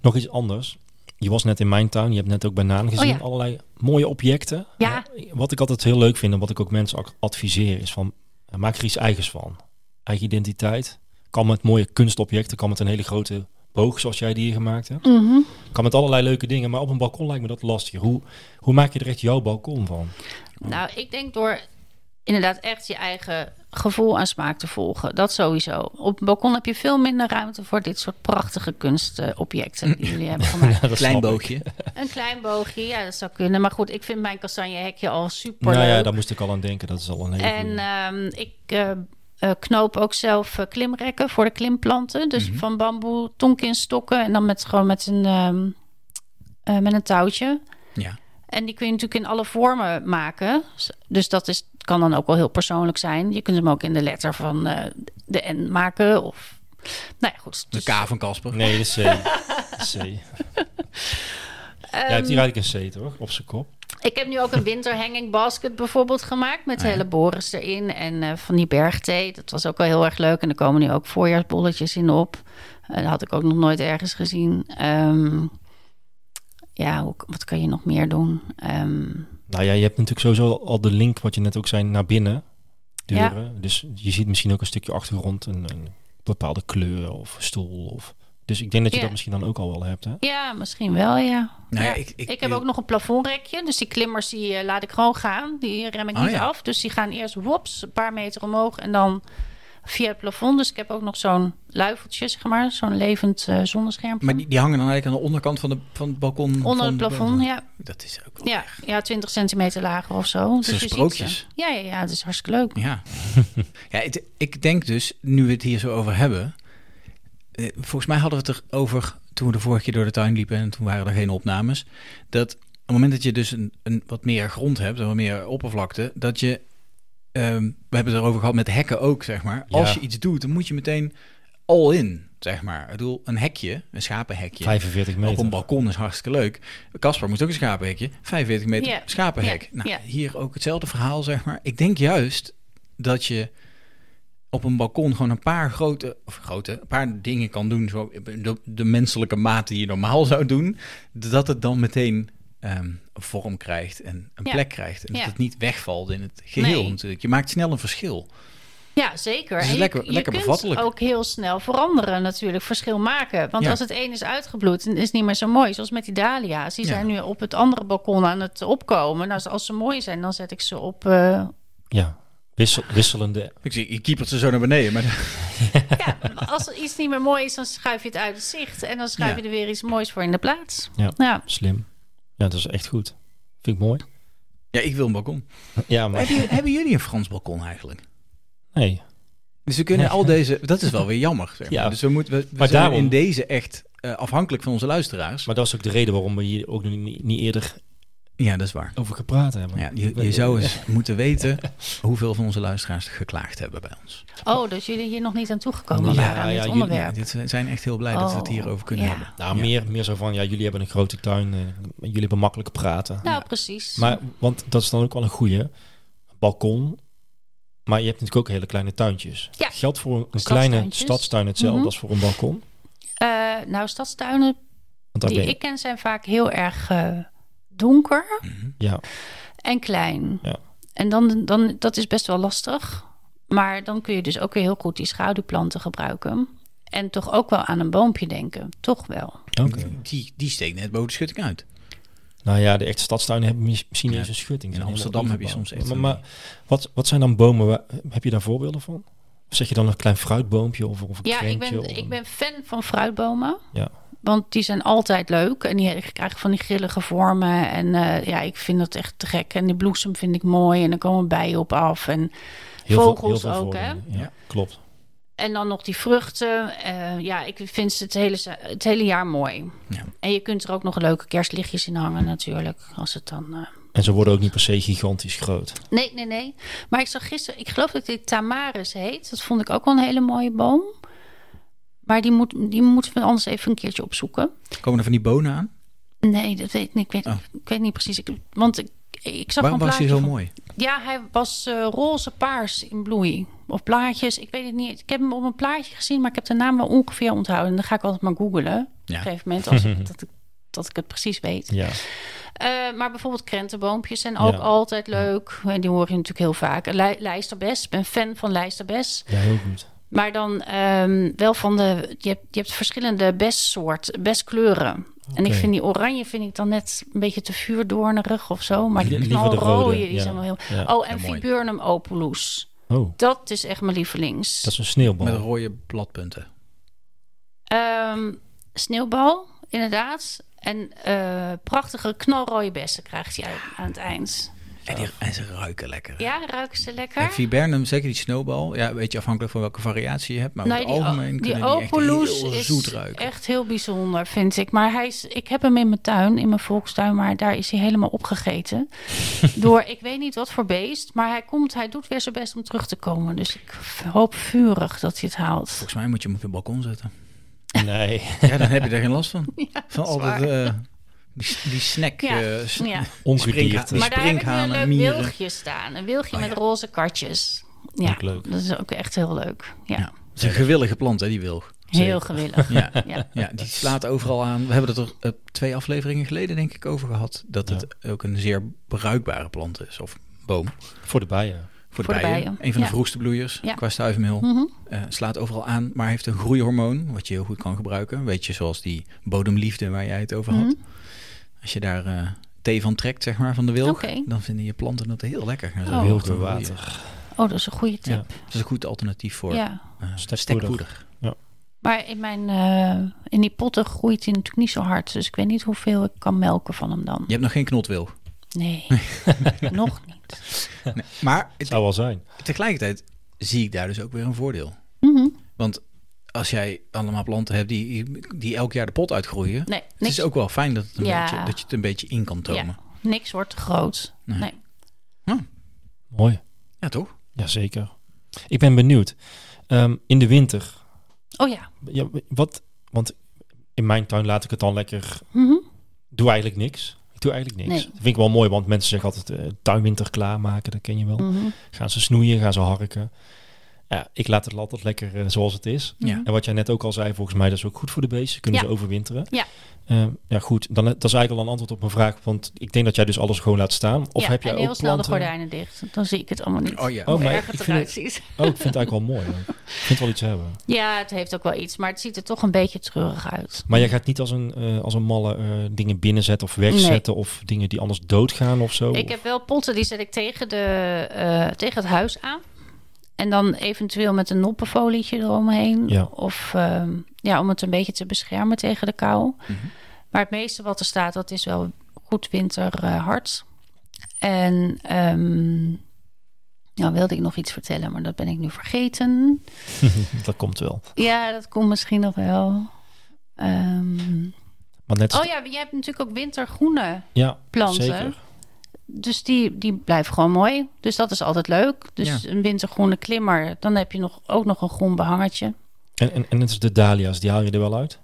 Nog iets anders. Je was net in mijn tuin. Je hebt net ook bananen gezien. Oh, ja. Allerlei mooie objecten. Ja. Eh, Wat ik altijd heel leuk vind en wat ik ook mensen ook adviseer is van eh, maak er iets eigens van. Eigen identiteit. Kan met mooie kunstobjecten. Kan met een hele grote boog zoals jij die hier gemaakt hebt. Mhm. Kan met allerlei leuke dingen. Maar op een balkon lijkt me dat lastig. Hoe, hoe maak je er echt jouw balkon van? Nou, ik denk door inderdaad echt je eigen gevoel en smaak te volgen. Dat sowieso. Op een balkon heb je veel minder ruimte voor dit soort prachtige kunstobjecten die jullie hebben gemaakt. Ja, dat Klein snap ik. boogje. Een klein boogje, ja, dat zou kunnen. Maar goed, ik vind mijn kastanjehekje al super Nou ja, daar moest ik al aan denken. Dat is al een hele En goeie. ehm, ik eh, eh, knoop ook zelf eh, klimrekken voor de klimplanten. Dus van bamboe, tonkinstokken en dan met, gewoon met een, ehm, eh, met een touwtje. Ja. En die kun je natuurlijk in alle vormen maken. S- Dus dat is, kan dan ook wel heel persoonlijk zijn. Je kunt hem ook in de letter van eh, de N maken. Of, nou ja, goed. De Dus, K van Nou Casper. Nee, de C. C. Jij Ehm. hebt hier eigenlijk een C, toch? Op zijn kop. Ik heb nu ook een winterhanging basket bijvoorbeeld gemaakt. Oh Met hele borens erin. En eh, van die bergthee. Dat was ook wel heel erg leuk. En er komen nu ook voorjaarsbolletjes in op. Eh, dat had ik ook nog nooit ergens gezien. Ehm, ja, hoe, wat kan je nog meer doen? Ehm, Nou ja, je hebt natuurlijk sowieso al de link, wat je net ook zei, naar binnen. Deuren. Dus je ziet misschien ook een stukje achtergrond, een, een bepaalde kleur of stoel. Of... Dus ik denk dat je Ja. dat misschien dan ook al wel hebt, hè? ja, misschien wel, ja. Nou ja, Ja, ik- ik- heb ook nog een plafondrekje. Dus die klimmers die eh, laat ik gewoon gaan. Die rem ik Oh, niet ja. af. Dus die gaan eerst wops, een paar meter omhoog. En dan via het plafond. Dus ik heb ook nog zo'n luifeltje, zeg maar. Zo'n levend eh zonnescherm. Maar die, die hangen dan eigenlijk aan de onderkant van, de, van het balkon. Onder van het de plafond, bomen. ja. Dat is ook wel... Ja, ja, 20 centimeter lager of zo. Dus zijn je ziet sprookjes. ze. Ja, ja, ja, het is hartstikke leuk. Ja. ja het- ik denk dus, nu we het hier zo over hebben... eh, Volgens mij hadden we het erover toen we de vorige keer door de tuin liepen... en toen waren er geen opnames. Dat op het moment dat je dus een, een wat meer grond hebt... en wat meer oppervlakte, dat je... ehm, we hebben het erover gehad met hekken ook, zeg maar. Ja. Als je iets doet, dan moet je meteen all in, zeg maar. Ik bedoel, een hekje, een schapenhekje... 45 meter. Op een balkon is hartstikke leuk. Casper moest ook een schapenhekje. 45 meter Ja. schapenhek. Ja. Nou, Ja. Hier ook hetzelfde verhaal, zeg maar. Ik denk juist dat je op een balkon gewoon een paar grote, of grote, een paar dingen kan doen. Zo, de, de menselijke maat die je normaal zou doen. Dat het dan meteen ehm, een vorm krijgt en een Ja. plek krijgt. En Ja. dat het niet wegvalt in het geheel Nee. natuurlijk. Je maakt snel een verschil. Ja, zeker. Het is En lekker- je, lekker je kunt bevattelijk. ook heel snel veranderen natuurlijk, verschil maken. Want Ja. als het een is uitgebloed, dan is het niet meer zo mooi. Zoals met die dahlia's, die Ja. zijn nu op het andere balkon aan het opkomen. Nou, als ze mooi zijn, dan zet ik ze op... eh, Ja, Wissel, wisselende. Ik zie, je kiepert ze zo naar beneden. Maar ja, als er iets niet meer mooi is, dan schuif je het uit het zicht. En dan schuif Ja. je er weer iets moois voor in de plaats. Ja. ja. Slim. Ja, dat is echt goed. Vind ik mooi. ja, ik wil een balkon. Ja, maar... Hebben, jullie- hebben jullie een Frans balkon eigenlijk? Nee. Dus we kunnen al deze... Dat is wel weer jammer. Zeg maar. Ja. Dus we, moeten, we, we Maar zijn daarom- in deze echt eh, afhankelijk van onze luisteraars. Maar dat is ook de reden waarom we hier ook nog niet, niet eerder ja, dat is waar. over gepraat hebben. Ja, je, je zou eens moeten weten hoeveel van onze luisteraars geklaagd hebben bij ons. Oh, dus jullie hier nog niet aan toegekomen Ja, waren aan ja, dit jullie- Ja, onderwerp. dit zijn- zijn echt heel blij dat we het Oh, hierover kunnen ja. hebben. Nou, Ja. meer, meer zo van, ja, jullie hebben een grote tuin. eh, jullie hebben makkelijk praten. Nou, precies. Maar, want dat is dan ook wel een goeie. Balkon. Maar je hebt natuurlijk ook hele kleine tuintjes. Ja. Geldt voor een kleine Stadstuintjes. stadstuin hetzelfde Mhm. als voor een balkon? Eh, nou, stadstuinen Want daar die ben je- ik ken zijn vaak heel erg eh, donker Ja, en klein. Ja. En dan, dan, dat is best wel lastig. Maar dan kun je dus ook weer heel goed die schaduwplanten gebruiken. En toch ook wel aan een boompje denken. Toch wel. oké. Die, die steekt net boven de schutting uit. Nou ja, de echte stadstuinen hebben mis- misschien niet eens een schutting. In Zijn helemaal Amsterdam heb je ingebouwd. soms echt Maar, van maar wat, wat zijn dan bomen? waar- heb je daar voorbeelden van? Of zeg je dan een klein fruitboompje of, of een Ja, ik krentje ben, of een- ik ben fan van fruitbomen. Ja. Want die zijn altijd leuk. En die krijgen van die grillige vormen. En eh, ja, ik vind dat echt te gek. En de bloesem vind ik mooi. En er komen bijen op af. En Heel veel- vogels heel veel ook, hè? voorbeelden. Ja, Ja. klopt. En dan nog die vruchten. Eh, ja, ik vind het hele, za- het hele jaar mooi. Ja. En je kunt er ook nog leuke kerstlichtjes in hangen natuurlijk. Als het dan... eh, En ze worden ook niet per se gigantisch groot. Nee, nee, nee. Maar ik zag gisteren... Ik geloof dat dit Tamaris heet. Dat vond ik ook wel een hele mooie boom. Maar die, moet, die moeten we anders even een keertje opzoeken. Komen er van die bonen aan? Nee, dat weet ik niet. Ik weet, Oh. ik weet niet precies. Ik, want ik, ik zag Waarom een was plaatje die zo van- mooi? Ja, hij was eh, roze paars in bloei. Of plaatjes, ik weet het niet. Ik heb hem op een plaatje gezien, maar ik heb de naam wel ongeveer onthouden. En dan ga ik altijd maar googlen. Ja. Op een gegeven moment, als ik, dat, ik, dat ik het precies weet. Ja. Eh, maar bijvoorbeeld krentenboompjes zijn ook Ja. altijd leuk. En die hoor je natuurlijk heel vaak. Lij- Lijsterbes, ik ben fan van lijsterbes. ja, heel goed. Maar dan ehm, wel van de... Je hebt, je hebt verschillende bestsoorten, bestkleuren. En ik Oké. vind die oranje vind ik dan net een beetje te vuurdoornerig of zo. Maar die Liever de knalrode, rode, die ja. zijn wel heel... Ja. Oh, en Ja, mooi. Viburnum opulus. Oh, Dat is echt mijn lievelings. dat is een sneeuwbal. Met rode bladpunten. Ehm, sneeuwbal, inderdaad. En eh, prachtige knalrode bessen krijgt hij aan het eind. En, die- en ze ruiken lekker. Ja, ruiken ze lekker. En Viburnum, zeker die snowbal. Ja, weet je, afhankelijk van welke variatie je hebt. Maar Nou over ja, het die algemeen die kunnen die Opeloes echt heel is zoet ruiken. echt heel bijzonder, vind ik. Maar hij is, ik heb hem in mijn tuin, in mijn volkstuin, maar daar is hij helemaal opgegeten. door ik weet niet wat voor beest. Maar hij komt, hij doet weer zijn best om terug te komen. Dus ik hoop vurig dat hij het haalt. Volgens mij moet je hem op je balkon zetten. Nee. Ja, dan heb je er geen last van. van is altijd eh, die, die snack. Ja, eh, s- ja. Ongediert. Springhaan. Maar daar heb ik nu een sprinkhanen, leuk mieren. wilgje staan. Een wilgje Oh, met ja. roze kartjes. Ja, Ook leuk. dat is ook echt heel leuk. Ja, Ja, het is een gewillige plant, hè, die wilg. heel gewillig. Ja. Ja. Ja, die slaat overal aan. We hebben het er eh, twee afleveringen geleden, denk ik, over gehad. Dat Ja. het ook een zeer bruikbare plant is, of boom. Voor de bijen. Voor de, Voor de bijen. bijen, Een van de ja. vroegste bloeiers Ja. qua stuifmeel. Mhm. Eh, slaat overal aan, maar heeft een groeihormoon, wat je heel goed kan gebruiken. Weet je, zoals die bodemliefde waar jij het over had. Mhm. Als je daar eh, thee van trekt, zeg maar, van de wilg, Oké. dan vinden je planten dat heel lekker. Gaan ze Oh. heel Heel goed veel groeien. water. Oh, dat is een goede tip. Dat is een goed alternatief voor ja. eh, Stekpoeder. stekpoeder. Maar in, mijn, eh, in die potten groeit hij natuurlijk niet zo hard. Dus ik weet niet hoeveel ik kan melken van hem dan. Je hebt nog geen knotwilg. Nee, nog niet. Nee. Maar het- Zou wel zijn. tegelijkertijd zie ik daar dus ook weer een voordeel. Mhm. Want als jij allemaal planten hebt die, die elk jaar de pot uitgroeien... Nee, het niks, is ook wel fijn dat, het een Ja. beetje, dat je het een beetje in kan tomen. Ja, niks wordt te groot. Nee. Nee. Mooi. toch? Jazeker. Ik ben benieuwd. Ehm, in de winter. Oh ja. Ja, wat, want in mijn tuin laat ik het dan lekker Mhm. doe eigenlijk niks. Ik doe eigenlijk niks. Nee. Dat vind ik wel mooi, want mensen zeggen altijd eh, tuinwinter klaarmaken, dat ken je wel. Mhm. Gaan ze snoeien, gaan ze harken. Ja, ik laat het altijd lekker eh, zoals het is. Ja. En wat jij net ook al zei, volgens mij dat is ook goed voor de beesten. Kunnen Ja. ze overwinteren. Ja. Eh, ja, goed. Dan, dat is eigenlijk al een antwoord op mijn vraag. Want ik denk dat jij dus alles gewoon laat staan. Of ja, heb jij en ook heel snel de planten? gordijnen dicht. Dan zie ik het allemaal niet. Oh ja. Oh, Hoe maar erg ik het vind eruit het- ziet. Oh, ik vind het eigenlijk wel mooi. hoor. Ik vind het wel iets hebben. Ja, het heeft ook wel iets. Maar het ziet er toch een beetje treurig uit. Maar jij gaat niet als een, eh, als een malle eh, dingen binnenzetten of wegzetten. Of dingen die anders doodgaan of zo. Ik heb wel potten, die zet ik tegen, de, eh, tegen het huis aan. En dan eventueel met een noppenfolietje eromheen. Ja. Of ehm, ja, om het een beetje te beschermen tegen de kou. Mhm. Maar het meeste wat er staat, dat is wel goed winterhard. en ehm, nou wilde ik nog iets vertellen, maar dat ben ik nu vergeten. Dat komt wel. Ja, dat komt misschien nog wel. Ehm, Maar net als- oh ja, je hebt natuurlijk ook wintergroene ja, planten. Zeker. Dus die, die blijft gewoon mooi. Dus dat is altijd leuk. Dus een wintergroene klimmer, dan heb je nog, ook nog een groen behangetje. En, en, en het is de dahlia's, die haal je er wel uit?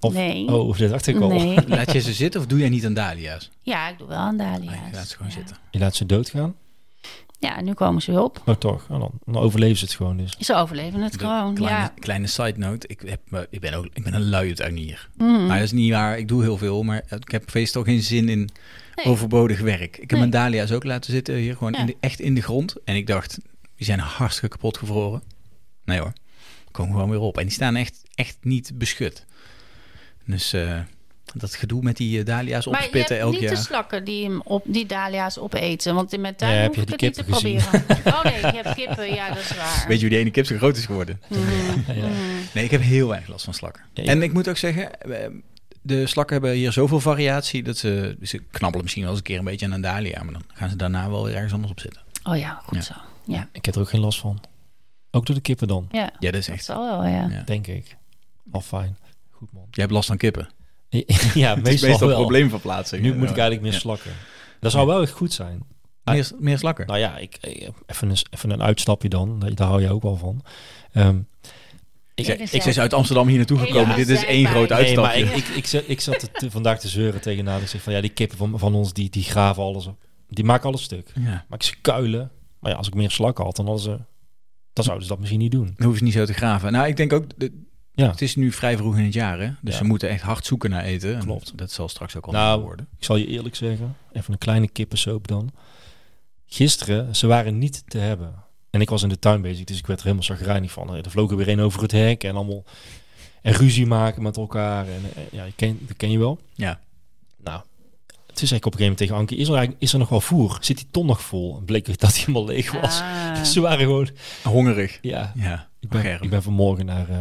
Of- nee. Oh, dat dacht ik al. nee. Laat je ze zitten of doe jij niet aan dahlia's? Ja, ik doe wel aan dahlia's. Nee, Ah, laat ze gewoon ja. zitten. Je laat ze doodgaan, Ja, en nu komen ze weer op. maar toch, nou dan, dan overleven ze het gewoon dus. Ze overleven het De gewoon, kleine, ja. kleine side note. Ik, heb, me- ik, ben ook, ik ben een luie tuinier. Mhm. Maar Nou, dat is niet waar. Ik doe heel veel, maar ik heb meestal geen zin in Nee. overbodig werk. Ik heb Nee. mijn dahlia's ook laten zitten hier, gewoon Ja. in de, echt in de grond. En ik dacht, die zijn hartstikke kapot gevroren. Nee hoor, komen gewoon weer op. En die staan echt, echt niet beschut. Dus eh, dat gedoe met die eh, dahlia's Maar je hebt opspitten elk niet jaar. de slakken die, hem op, die dahlia's opeten. Want in mijn tuin Ja, heb hoef je ik het die niet te kippen proberen. Oh nee, je hebt kippen. Ja, dat is waar. Weet je hoe die ene kip zo groot is geworden? Mhm. Ja. Mhm. Nee, ik heb heel weinig last van slakken. Ja, ik- En ik moet ook zeggen, eh, de slakken hebben hier zoveel variatie dat ze, ze knabbelen misschien wel eens een keer een beetje aan een dahlia, maar dan gaan ze daarna wel weer ergens anders op zitten. Oh ja, goed Ja. zo. Ik heb er ook geen last van. Ook door de kippen dan, Ja, Ja, dat is dat echt. zal wel, ja. Ja. denk ik. Al fijn. Goed man. Je hebt last van kippen. ja, Het is meestal, meestal wel. probleemverplaatsing. Nu moet ik eigenlijk meer Ja. slakken. Dat zou wel echt goed zijn. Meer, meer slakken. Nou ja, ik, eh, even, een, even een uitstapje dan, daar daar hou je ook wel van. Ehm, ik, Even ik zelf. ben uit Amsterdam hier naartoe Ja, gekomen. ja, Dit is zij één bij. groot Nee, Nee, maar uitstapje. ik, ik, ik, zat- ik zat er te- vandaag te zeuren tegenaan. Ik zeg van ja, die kippen van, van ons, die, die graven alles op. Die maken alles stuk. ja. Maak ze kuilen. Maar ja, als ik meer slakken had, dan, hadden ze, dan zouden ze dat misschien niet doen. Dan hoeven ze niet zo te graven. Nou, ik denk ook, de- Ja. het is nu vrij vroeg in het jaar. Hè? Dus Ja. ze moeten echt hard zoeken naar eten. En Klopt. Dat zal straks ook al Nou, worden. Ik zal je eerlijk zeggen, even een kleine kippensoop dan. Gisteren, ze waren niet te hebben. En ik was in de tuin bezig, dus ik werd er helemaal zagrijnig van. Er vlogen weer een over het hek en allemaal... En ruzie maken met elkaar. En, eh, ja, je ken, dat ken je wel. Ja. Nou, toen zei ik op een gegeven moment tegen Anke, is er, eigenlijk- is er nog wel voer? Zit die ton nog vol? En bleek dat die helemaal leeg was. Ah. Dus ze waren gewoon, Hongerig. ja. Ja, Ik ben, germ. ik ben vanmorgen naar eh,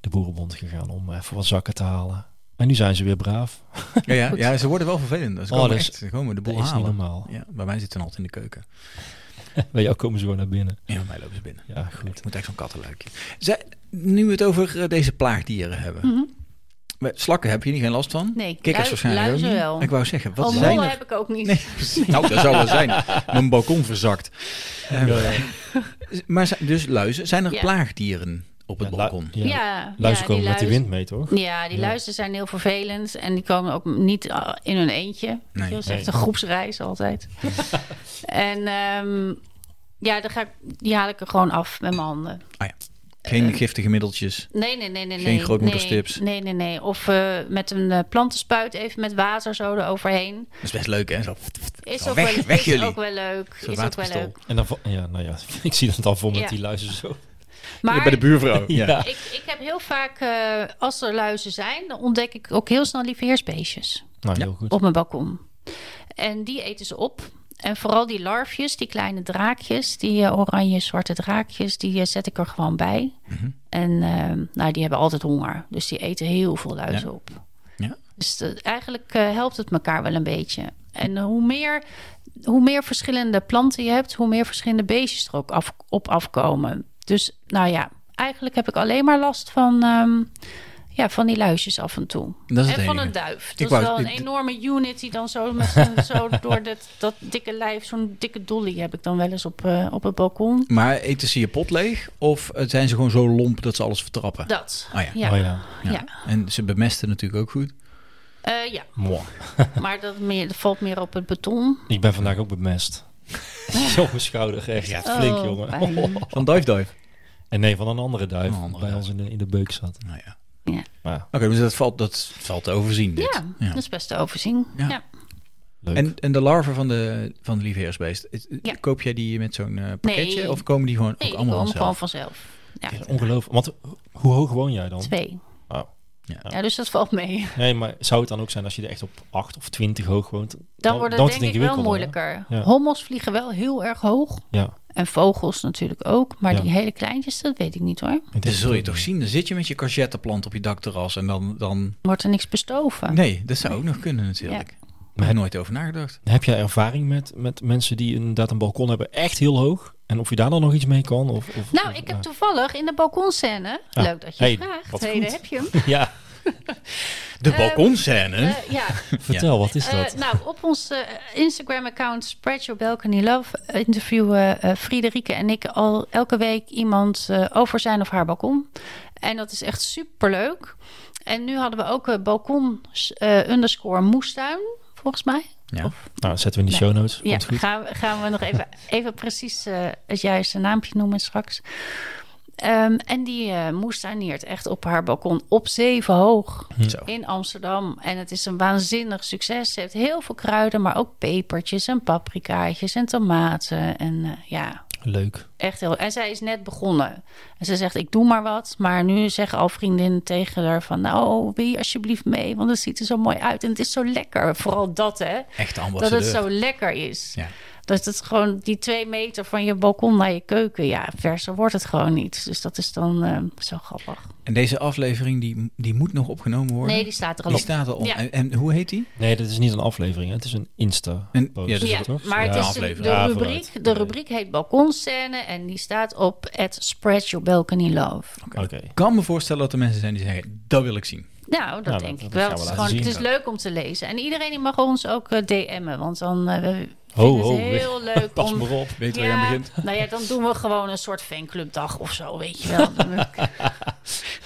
de Boerenbond gegaan om even wat zakken te halen. En nu zijn ze weer braaf. ja, ja, ja, ze worden wel vervelend. Ze Oh, komen dat is- echt, ze komen de Dat boel is niet halen. normaal. Ja, bij mij zitten ze altijd in de keuken. Bij jou komen ze gewoon naar binnen. Ja, bij mij lopen ze binnen. Ja, goed. Het moet echt zo'n kattenluikje. Zij- nu we het over eh, deze plaagdieren hebben. Mhm. Bij Slakken heb je niet geen last van? Nee, Kikkers lui- waarschijnlijk luizen ook niet. wel. Ik wou zeggen, wat Al zijn mollen er? heb ik ook niet. Nee, precies. nou, dat zou wel zijn. Mijn balkon verzakt. Eh, Maar zijn- dus luizen, zijn er Ja. plaagdieren op het Ja, lu- balkon? Ja, Ja. ja, Luizen komen met die wind luizen- mee, toch? Ja, die Ja. luizen zijn heel vervelend en die komen ook niet eh, in hun eentje. Nee. Nee, dat is echt Nee. een groepsreis altijd. en ehm, ja, dan ga ik, die haal ik er gewoon af met mijn handen. Ah ja. Geen eh, giftige middeltjes. Nee, nee, nee, nee. Geen nee, grootmoederstips. Nee, nee, nee. nee. Of eh, met een eh, plantenspuit even met water zo eroverheen. Dat is best leuk, hè? Zo. Is, Zo, ook, weg- wel, weg is jullie. ook wel leuk. Zo'n Is ook wel waterpistool. leuk. En dan, vo- ja, nou ja, ik zie dat al vol met Ja. die luizen zo. Maar Bij de buurvrouw. Ja. Ja. ik, ik heb heel vaak, eh, als er luizen zijn, dan ontdek ik ook heel snel lieve heersbeestjes Nou, heel goed. op mijn balkon. En die eten ze op. En vooral die larfjes, die kleine draakjes, die eh, oranje zwarte draakjes, die eh, zet ik er gewoon bij. Mhm. En eh, nou, die hebben altijd honger. Dus die eten heel veel luizen op. Ja. Dus eh, eigenlijk eh, helpt het elkaar wel een beetje. En eh, hoe, meer, hoe meer verschillende planten je hebt, hoe meer verschillende beestjes er ook af, op afkomen. Dus nou ja, eigenlijk heb ik alleen maar last van, ehm, ja, van die luisjes af en toe. Dat is het en van enige. een duif. Dat Ik is wou- wel een ik- enorme unit die dan zo, met zo'n- zo door dat, dat dikke lijf, zo'n dikke dolly heb ik dan wel eens op, eh, op het balkon. Maar eten ze je pot leeg? Of eh, zijn ze gewoon zo lomp dat ze alles vertrappen? Dat. Ah ja. Oh ja. ja. ja. En ze bemesten natuurlijk ook goed. Eh, ja. Mwah. maar dat, meer, dat valt meer op het beton. Ik ben vandaag ook bemest. Zo op mijn schouder, echt. flink, Oh, jongen. pijn. Van dive dive. En nee, van een andere duif. Een andere bij duif. ons in de, in de beuk zat. Nou ja. Ja. Maar ja, Oké, dus dat valt, dat valt te overzien. Dit. Ja, dat is best te overzien. Ja. ja. leuk. En, en de larven van de, van de lieveheersbeest, is- Ja. koop jij die met zo'n eh, pakketje? Nee. Of komen die gewoon Nee, ook die allemaal komen gewoon vanzelf? vanzelf. Ja, Ongelooflijk. Want hoe hoog woon jij dan? twee. Oh. Ja. Ja, dus dat valt mee. Nee, maar zou het dan ook zijn als je er echt op 8 of 20 hoog woont? Dan wordt wordt het denk ik wel ingewikkelder, hè? moeilijker. Ja. Hommels vliegen wel heel erg hoog. Ja. En vogels natuurlijk ook. Maar Ja. die hele kleintjes, dat weet ik niet hoor. Ik denk Dat zul je ook toch niet. zien. Dan zit je met je courgetteplant op je dakterras en dan... dan... Wordt er niks bestoven. Nee, dat zou ook nog kunnen natuurlijk. Maar heb nooit over nagedacht. Heb jij ervaring met, met mensen die inderdaad een balkon hebben echt heel hoog? En of je daar dan nog iets mee kan? Of, of, Nou, of- ik heb toevallig in de balkonscène... Ah, Leuk dat je hey, vraagt. wat Hey, goed. daar heb je hem. Ja, De Eh, balkonscène? Eh, ja, vertel, wat is dat? Eh, nou, op ons eh, Instagram-account Spread Your Balcony Love eh, interviewen eh Friederike en ik al elke week iemand eh, over zijn of haar balkon. En dat is echt superleuk. En nu hadden we ook eh, balkon eh, underscore moestuin, volgens mij. Ja. nou, zetten we in de show notes. Ja, Komt goed. gaan, we- gaan we nog even, even precies eh, het juiste naampje noemen straks. Ehm, en die eh moestuin neert echt op haar balkon op zeven hoog Hm. Zo. in Amsterdam. En het is een waanzinnig succes. Ze heeft heel veel kruiden, maar ook pepertjes en paprikaatjes en tomaten. En eh, ja, Leuk. echt heel... En zij is net begonnen. En ze zegt, ik doe maar wat. Maar nu zeggen al vriendinnen tegen haar van... nou, wil je alsjeblieft mee? Want het ziet er zo mooi uit en het is zo lekker. Vooral dat, hè? Echt dat ambassadeur. het zo lekker is. Ja. Dat het gewoon die twee meter van je balkon naar je keuken... ja, verser wordt het gewoon niet. Dus dat is dan eh, zo grappig. En deze aflevering, die, die moet nog opgenomen worden? Nee, die staat er al Die op. staat al op. Ja. En, en hoe heet die? Nee, dit is niet een aflevering. hè. Het is een Insta. Een- post, ja, dat is Ja, toch? maar het Ja, is de, aflevering. de Ja, Ah, rubriek, vooruit. de Nee. rubriek heet balkonscène en die staat op at Spread Your Balcony Love. Oké. Ik kan me voorstellen dat er mensen zijn die zeggen, dat wil ik zien. Nou, dat dat- denk dat ik wel. gaan Het we is, laten gewoon, het is zien. leuk om te lezen. En iedereen die mag ons ook eh, DM'en, want dan eh, we Ho, vinden ho. het heel leuk Pas om... maar op. Weet je waar je aan begint? nou ja, dan doen we gewoon een soort fanclubdag of zo, weet je wel. Dan-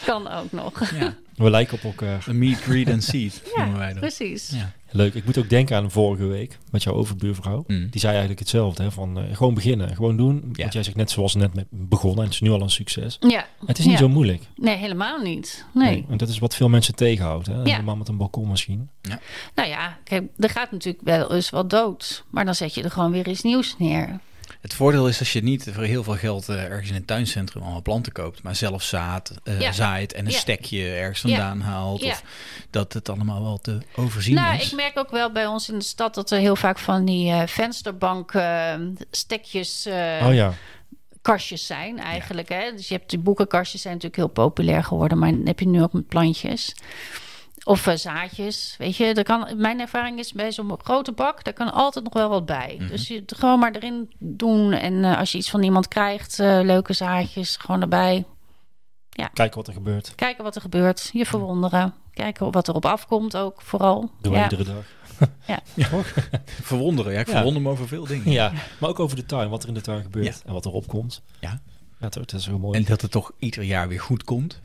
kan ook nog. Ja. We lijken op elkaar. Een meet, read and seed noemen Ja, wij dat. precies. Ja. Leuk. Ik moet ook denken aan vorige week met jouw overbuurvrouw. Mm. Die zei eigenlijk hetzelfde. Hè? Van, eh, gewoon beginnen. Gewoon doen. Ja. Want jij zegt net zoals net met begonnen. En het is nu al een succes. Ja. Het is niet Ja. zo moeilijk. Nee, helemaal niet. Nee. En dat is wat veel mensen tegenhoudt. Hè? Ja. Helemaal met een balkon misschien. Nou ja, kijk, er gaat natuurlijk wel eens wat dood. Maar dan zet je er gewoon weer iets nieuws neer. Het Het voordeel is als je niet voor heel veel geld eh, ergens in een tuincentrum allemaal planten koopt, maar zelf zaad, eh, Ja. zaait en een Ja. stekje ergens Ja. vandaan haalt. Ja. Of dat het allemaal wel te overzien nou, is. ik merk ook wel bij ons in de stad dat er heel vaak van die eh, vensterbank eh, stekjes, eh, oh ja. kastjes zijn eigenlijk. Hè? Dus je hebt die boekenkastjes zijn natuurlijk heel populair geworden, maar dan heb je nu ook met plantjes. Of eh, zaadjes, weet je. Er kan, mijn ervaring is bij zo'n grote bak, daar kan altijd nog wel wat bij. Mhm. Dus je het gewoon maar erin doen. En eh, als je iets van iemand krijgt, eh, leuke zaadjes, gewoon erbij. Kijken wat er gebeurt. Kijken wat er gebeurt, Mhm. je verwonderen. Kijken wat erop afkomt ook, vooral. Doen we ja. iedere dag. Verwonderen, ja, ik Ja. verwonder me over veel dingen. Ja, maar ook over de tuin. Wat er in de tuin gebeurt en wat erop komt. Ja. Ja, dat is heel mooi. En dat het toch ieder jaar weer goed komt.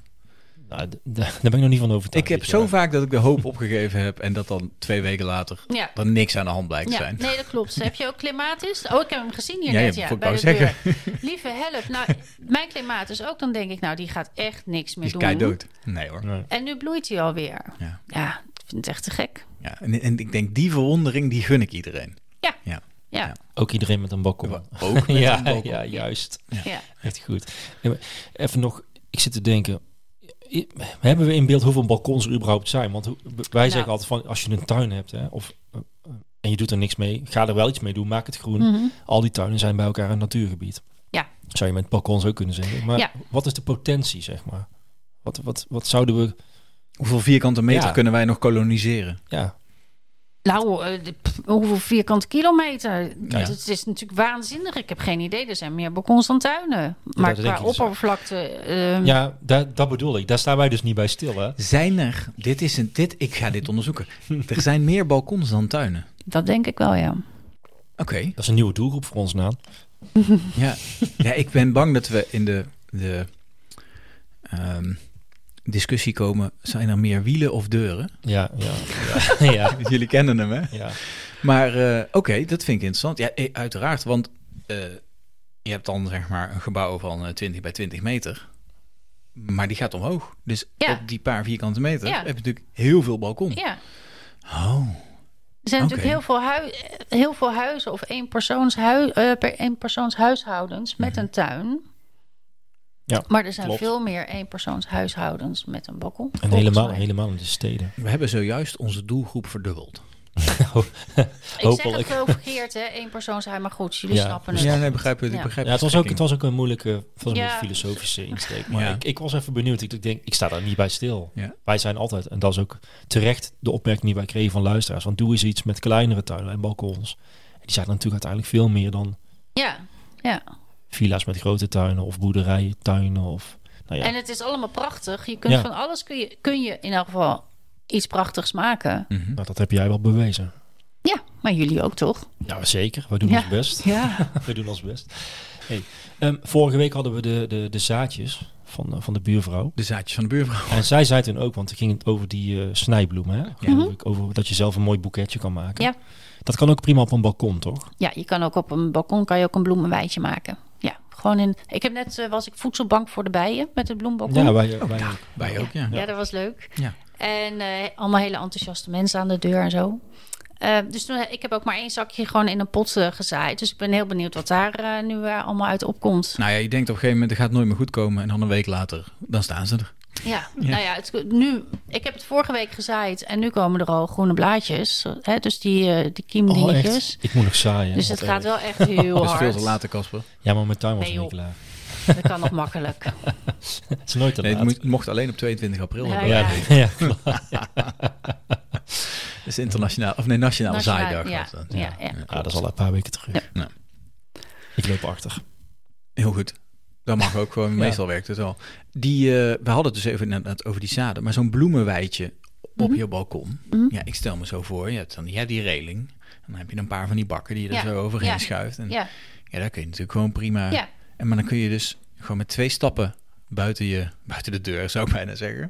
Nou, d- d- daar ben ik nog niet van overtuigd. ik heb dit zo jaar. vaak dat ik de hoop opgegeven heb en dat dan twee weken later Ja. er niks aan de hand blijkt te Ja, zijn. nee, dat klopt. Heb je ook klimatis? Oh, ik heb hem gezien hier Ja, net, ja, ja, vond ik bij de wou deur. Lieve help. Nou, mijn klimatis ook, dan denk ik, nou, die gaat echt niks meer Die is doen. kei dood. Nee hoor. Nee. En nu bloeit hij alweer. Ja. ja, ik vind het echt te gek. Ja, en, en ik denk die verwondering die gun ik iedereen. Ja, Ja. ja. Ook iedereen met een balkon. Ook met ja, een balkon. ja, juist. Ja. Echt goed. Nee, maar Even nog, ik zit te denken. i- Hebben we in beeld hoeveel balkons er überhaupt zijn? Want hoe- wij zeggen altijd van, als je een tuin hebt hè, of, eh, eh, en je doet er niks mee, ga er wel iets mee doen, maak het Hm. groen. Mhm. Al die tuinen zijn bij elkaar een natuurgebied. Ja. Zou je met balkons ook kunnen zeggen. Maar Ja. wat is de potentie, zeg maar? Wat, wat, wat zouden we... Hoeveel vierkante meter Ja. kunnen wij nog koloniseren? Ja, Nou, eh, de- pff, hoeveel vierkante kilometer? Ja. Het is natuurlijk waanzinnig. Ik heb geen idee. Er zijn meer balkons dan tuinen. Maar dat denk qua ik dus. oppervlakte... ehm, ja dat, dat bedoel ik. Daar staan wij dus niet bij stil, hè? Zijn er, dit is een, dit, ik ga dit onderzoeken. er zijn meer balkons dan tuinen. Dat denk ik wel, ja. Oké. Dat is een nieuwe doelgroep voor ons, Naan. Ja. ja, ik ben bang dat we in de, de ehm, discussie komen. Zijn er meer wielen of deuren? Ja, ja, ja. ja. Jullie kennen hem, hè? ja. Maar eh, oké, dat vind ik interessant. Ja, eh, uiteraard, want eh, je hebt dan zeg maar een gebouw van eh, 20 bij 20 meter. Maar die gaat omhoog. Dus Ja. op die paar vierkante meter Ja. heb je natuurlijk heel veel balkon. Ja. Oh, Er zijn Oké. natuurlijk heel veel, hui- eh, heel veel huizen of eenpersoonshui- eh, per eenpersoonshuishoudens met een tuin. Mhm. Ja, maar er zijn klopt. veel meer eenpersoonshuishoudens met een balkon. En volgens helemaal, mij. helemaal in de steden. we hebben zojuist onze doelgroep verdubbeld. Ik zeg Hopelijk. het wel verkeerd, hè? Eenpersoonshuis, maar goed, jullie Ja. snappen het. Ja, nee, begrijp je. Ja. Begrijp Ja, het was ook, het was ook een moeilijke het was een Ja. beetje filosofische insteek. Maar Ja. ik, ik was even benieuwd. Ik denk, ik sta daar niet bij stil. Ja. Wij zijn altijd, en dat is ook terecht de opmerking die wij kregen van luisteraars. Want doe eens iets met kleinere tuinen en balkons. Die zijn er natuurlijk uiteindelijk veel meer dan Ja, ja. villa's met grote tuinen of boerderijen, tuinen of... Nou ja, En het is allemaal prachtig. Je kunt Ja. van alles kun je, kun je in elk geval iets prachtigs maken. nou, dat heb jij wel bewezen. Ja, maar jullie ook toch? Ja, zeker. We doen Ja. ons best. Ja. We doen ons best. Hey, ehm, vorige week hadden we de, de, de zaadjes van, eh, van de buurvrouw. De zaadjes van de buurvrouw. En zij zei toen ook, want toen ging het over die eh, snijbloemen, hè? Geloof ik, over dat je zelf een mooi boeketje kan maken. Ja. Dat kan ook prima op een balkon, toch? ja, je kan ook op een balkon kan je ook een bloemenwijtje maken. Ja, gewoon in. Ik heb net eh, was ik voedselbank voor de bijen met het bloembalkon. Ja, wij, wij Wij ook, ja. Ja, dat was leuk. Ja. En eh, allemaal hele enthousiaste mensen aan de deur en zo. Eh, dus toen, ik heb ook maar één zakje gewoon in een pot eh, gezaaid. Dus ik ben heel benieuwd wat daar eh, nu eh, allemaal uit opkomt. Nou ja, je denkt op een gegeven moment, het gaat nooit meer goed komen. En dan een week later, dan staan ze er. Ja, nou ja, het, nu, ik heb het vorige week gezaaid en nu komen er al groene blaadjes. Hè, dus die, eh, die Oh, kiemdingetjes. echt? Ik moet nog zaaien. dus Wat het gaat erg. wel echt heel Dat is hard. veel te laat, Casper. Ja, maar mijn tuin was Nee, nog niet joh. klaar. Dat kan nog makkelijk. Het is nooit te Nee, het laat. moet- mocht alleen op 22 april. Ja, hebben. ja, ja. ja. Dat is internationaal, of nee, nationale Nationaal, zaaidag. ja, was dat. ja, ja. klopt. Ah, dat is al een paar weken terug. Ja. Ik loop achter. Heel goed. Dat mag ook gewoon. Meestal werkt het wel. Die, eh, we hadden het dus even inderdaad over die zaden. Maar zo'n bloemenwijtje op Mhm. je balkon. Ja, ik stel me zo voor. Je hebt dan ja, die reling. En dan heb je een paar van die bakken die je er Ja, zo overheen ja, schuift. En ja. Ja, daar kun je natuurlijk gewoon prima. Ja. En, maar dan kun je dus gewoon met twee stappen buiten, je, buiten de deur, zou ik bijna zeggen.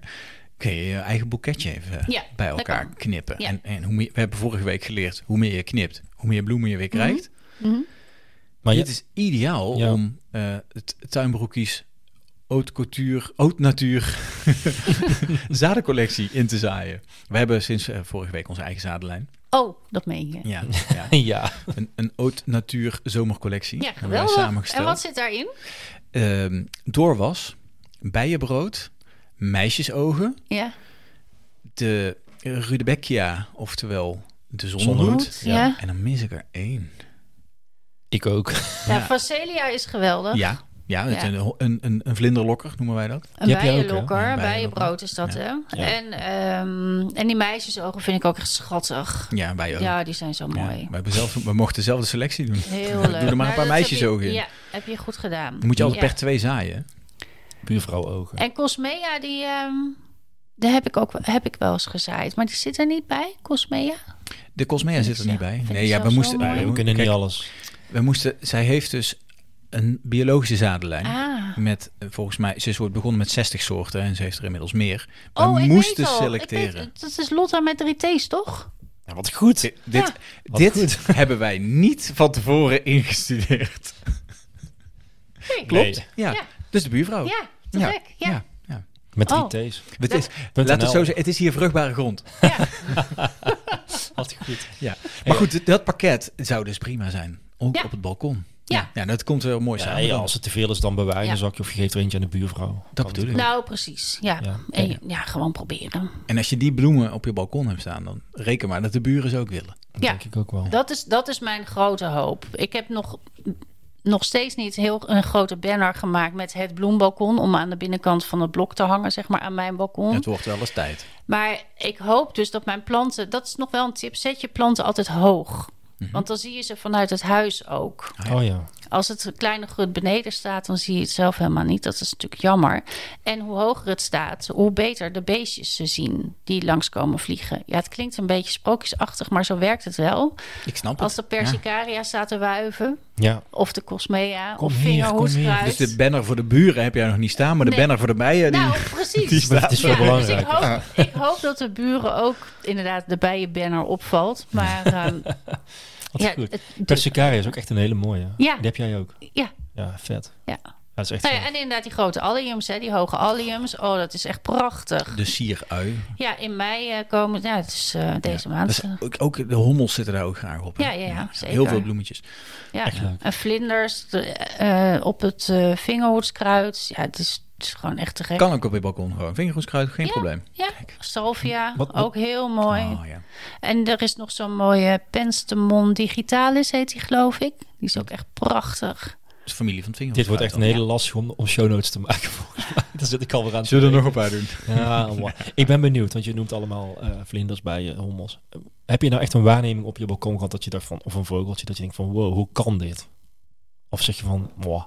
Kun je je eigen boeketje even eh, Ja, bij dat elkaar kan. knippen. Ja. En, en hoe meer, we hebben vorige week geleerd, hoe meer je knipt, hoe meer bloemen je weer Mhm. krijgt. Maar je, Dit is ideaal Ja. om eh, het tuinbroekjes haute couture, haute natuur zadencollectie in te zaaien. We hebben sinds eh, vorige week onze eigen zadenlijn. Oh, dat meen je. Ja, ja. ja. Een, een Haute Natuur zomercollectie. Ja, hebben wij geweldig. En samengesteld. wat zit daarin? Ehm, doorwas, bijenbrood, meisjesogen, Ja. de Rudbeckia, oftewel de zonnehoed. Ja. Ja. En dan mis ik er één. Ik ook. Ja, Ja. Phacelia is geweldig. Ja, ja, het Ja. is Een, een, een, een vlinderlokker noemen wij dat. Een Die heb je ook, hè? bijenlokker, Ja, een bijenlokker. bijenbrood is dat, Ja. hè? Ja. En, ehm, en die meisjesogen vind ik ook echt schattig. Ja, wij ook. Ja, die zijn zo Ja, mooi. we, hebben zelf, we mochten zelf de selectie doen. Heel Doe leuk. er Nou, maar een paar dat heb je- meisjesogen in. Ja, heb je goed gedaan. Dan moet je altijd Ja. per twee zaaien. hè? Buurvrouw ogen. En Cosmea, die, ehm, daar heb ik ook heb ik wel eens gezaaid. Maar die zit er niet bij, Cosmea. De Cosmea zit er ik niet zo- bij. vind Nee, ik ja, zelf we zo moesten... mooi. wij Nee, we mo- kunnen kijk, niet alles. We moesten... Zij heeft dus een biologische zadenlijn. Ah. Met, eh, volgens mij, ze is ooit begonnen met 60 soorten en ze heeft er inmiddels meer. We Oh, ik moesten weet al. Ik selecteren. weet- dat is Lotta met drie T's, toch? Ja, wat goed. Di- dit Wat dit goed. hebben wij niet van tevoren ingestudeerd. Nee. Klopt? Nee. Ja. Ja. Dus de buurvrouw. Ja, te Ja. gek. Ja. ja. ja. Met drie Oh. T's. Het is, Punt laat het zo NL. zeggen, het is hier vruchtbare grond. Had goed. Ja. Maar goed, dat pakket zou dus prima zijn. Ook Ja. op het balkon. Ja. ja, dat komt wel mooi Ja, samen. ja, dan. als het te veel is, dan bewaar je Ja. een zakje of je geeft er eentje aan de buurvrouw. Dat bedoel ik. Nou, precies. Ja. Ja. En, je- ja, gewoon proberen. En als je die bloemen op je balkon hebt staan, dan reken maar dat de buren ze ook willen. Ja. Ja. Denk ik ook wel. Dat is, dat is mijn grote hoop. Ik heb nog, nog steeds niet heel een grote banner gemaakt met het bloembalkon. Om aan de binnenkant van het blok te hangen, zeg maar, aan mijn balkon. Het wordt wel eens tijd. Maar ik hoop dus dat mijn planten. Dat is nog wel een tip. Zet je planten altijd hoog. Want dan zie je ze vanuit het huis ook. Oh ja. Als het kleine grut beneden staat, dan zie je het zelf helemaal niet. Dat is natuurlijk jammer. En hoe hoger het staat, hoe beter de beestjes ze zien die langskomen vliegen. Ja, het klinkt een beetje sprookjesachtig, maar zo werkt het wel. Ik snap het. Als de Persicaria staat te wuiven, Ja. of de Cosmea, Kom of hier, kom hier. vingerhoedskruid. Dus de banner voor de buren heb jij nog niet staan, maar de Nee. banner voor de bijen, die, Nou, precies. die Maar het staat. is wel dus belangrijk. ik hoop, ik hoop dat de buren ook inderdaad de bijenbanner opvalt. Maar ehm, Wat ja, goed. het- Persicaria is ook echt een hele mooie. Ja. Die heb jij ook. ja, Ja, vet. ja. Dat is echt Nou ja, zo. en inderdaad die grote alliums, hè, die hoge alliums. Oh, dat is echt prachtig. De sierui. Ja, in mei eh, komen, ja, het is eh, deze Dat maand. is ook, ook de hommels zitten daar ook graag op. hè? Ja, ja, ja, zeker. Heel veel bloemetjes. Ja. echt leuk. En vlinders de, eh, op het eh vingerhoedskruid. Ja, het is, het is gewoon echt te gek. Kan ook op je balkon gewoon. Vingerhoedskruid, geen probleem. Ja, salvia, Wat- wat- ook heel mooi. Oh, ja. En er is nog zo'n mooie Penstemon Digitalis, heet die geloof ik. Die is ook echt prachtig. Dat is familie van het Dit wordt vingerhoedskruid. echt een hele lastig om, om show notes te maken volgens mij. Daar zit ik alweer aan. te Zullen we er denken. nog een paar doen? Ja, wow. Ik ben benieuwd, want je noemt allemaal eh, vlinders bij je hommels. Heb je nou echt een waarneming op je balkon gehad dat je dacht van, of een vogeltje, dat je denkt van, wow, hoe kan dit? Of zeg je van, wow.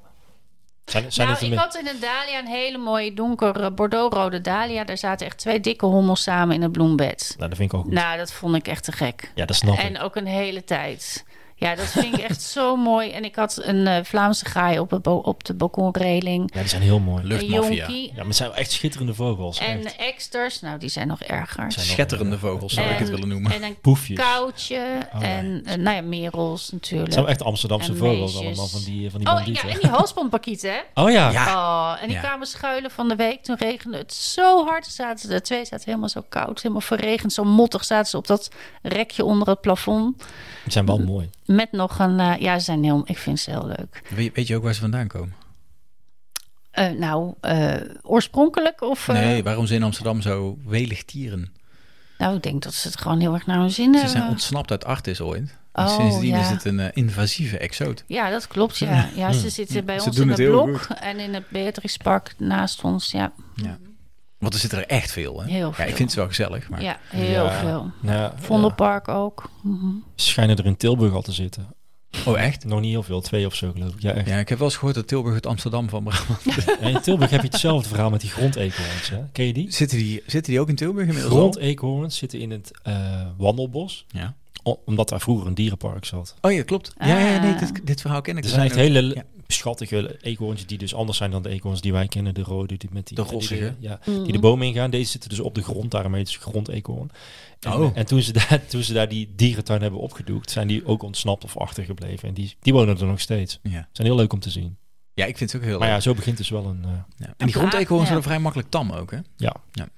Zijn, zijn nou, het ik een- had in een dahlia een hele mooie donkere bordeauxrode dahlia. Daar zaten echt twee dikke hommels samen in het bloembed. Nou, dat vind ik ook goed. Nou, dat vond ik echt te gek. ja, dat snap En ik. ook een hele tijd. Ja, dat vind ik echt zo mooi. En ik had een eh, Vlaamse gaai op, het ba- op de balkonreling. Ja, die zijn heel mooi. Een Luchtmafia. jonkie. Ja, maar het zijn echt schitterende vogels. En echt. eksters, nou die zijn nog erger. Zijn Schetterende vogels zou ik het willen noemen. En een Poefjes. koutje. Oh, ja. en, eh, nou ja, merels natuurlijk. Het zijn echt Amsterdamse En vogels meisjes. allemaal, van die, van die Oh, ja, bandieten. en die halsbandpakieten, hè? Oh ja. Ja. Oh, en die Ah, Ja. kwamen schuilen van de week. Toen regende het zo hard. Zaten de twee zaten helemaal zo koud, helemaal verregend. Zo mottig zaten ze op dat rekje onder het plafond. die zijn wel mooi. Met nog een... eh, ja, ze zijn heel... Ik vind ze heel leuk. Weet, weet je ook waar ze vandaan komen? Eh, nou, eh, oorspronkelijk of... eh, Nee, waarom ze in Amsterdam zo welig tieren? Nou, ik denk dat ze het gewoon heel erg naar hun zin Ze hebben. zijn ontsnapt uit Artis ooit. En Oh, sindsdien ja. is het een eh, invasieve exoot. Ja, dat klopt. Ja, ja ze zitten bij Ze ons doen in het het heel blok en in het Beatrix Park naast ons. Ja, Want er zitten er echt veel. Hè? Heel Ja, ik veel. vind ze wel gezellig. Maar ja heel Ja. veel. Ja, ja. Vondelpark ook. Mhm. Schijnen er in Tilburg al te zitten. Oh, echt? Nog niet heel veel, twee of zo geloof ik. Ja, echt. Ja, ik heb wel eens gehoord dat Tilburg het Amsterdam van Brabant. Ja, in Tilburg heb je hetzelfde verhaal met die grondeekhoorns. Hè? Ken je die? Zitten die, zitten die ook in Tilburg inmiddels? al? Grondeekhoorns zitten in het eh, wandelbos, Ja. o- omdat daar vroeger een dierenpark zat. Oh ja, klopt. Ja, ja nee, Ah. dit, dit verhaal ken ik. Er Er zijn echt ook- hele ja. schattige eekhoorns die dus anders zijn dan de eekhoorns die wij kennen. De rode, die met die... De die rossige. ja, Mm. die de boom ingaan. Deze zitten dus op de grond, daarom heet ze grondeekhoorn. En, Oh. eh, en toen, ze daar, toen ze daar die dierentuin hebben opgedoekt, zijn die ook ontsnapt of achtergebleven. En die, die wonen er nog steeds. Ja. Zijn heel leuk om te zien. ja, ik vind het ook heel Maar ja, leuk. zo begint dus wel een... eh, Ja. En die grondeekhoorns Ja. zijn vrij makkelijk tam ook, hè? Ja. Ja.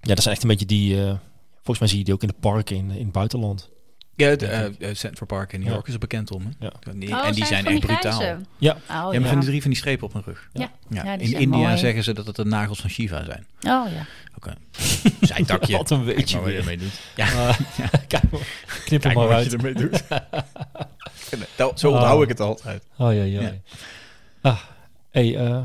ja. dat zijn echt een beetje die... eh, volgens mij zie je die ook in de parken in, in het buitenland. Ja, het, denk eh, ik. eh, Central Park in New Ja. York is er bekend om. Hè? Ja. En die, Oh, en die zijn, van echt die brutaal. grijze? Ja. Oh, ja, maar ja. van die drie van die strepen op hun rug. Ja. Ja. Ja, die in zijn India mooi. zeggen ze dat het de nagels van Shiva zijn. Oh ja. Ook een zijtakje. Wat een Kijk weetje maar wat je weer. ermee doet. Ja, Kijk maar, knip kijk maar hem maar wat je uit. ermee Nou, doet. Dat- Zo onthoud Oh. ik het altijd. Oh ja, ja. Ja. Ah, hey, eh,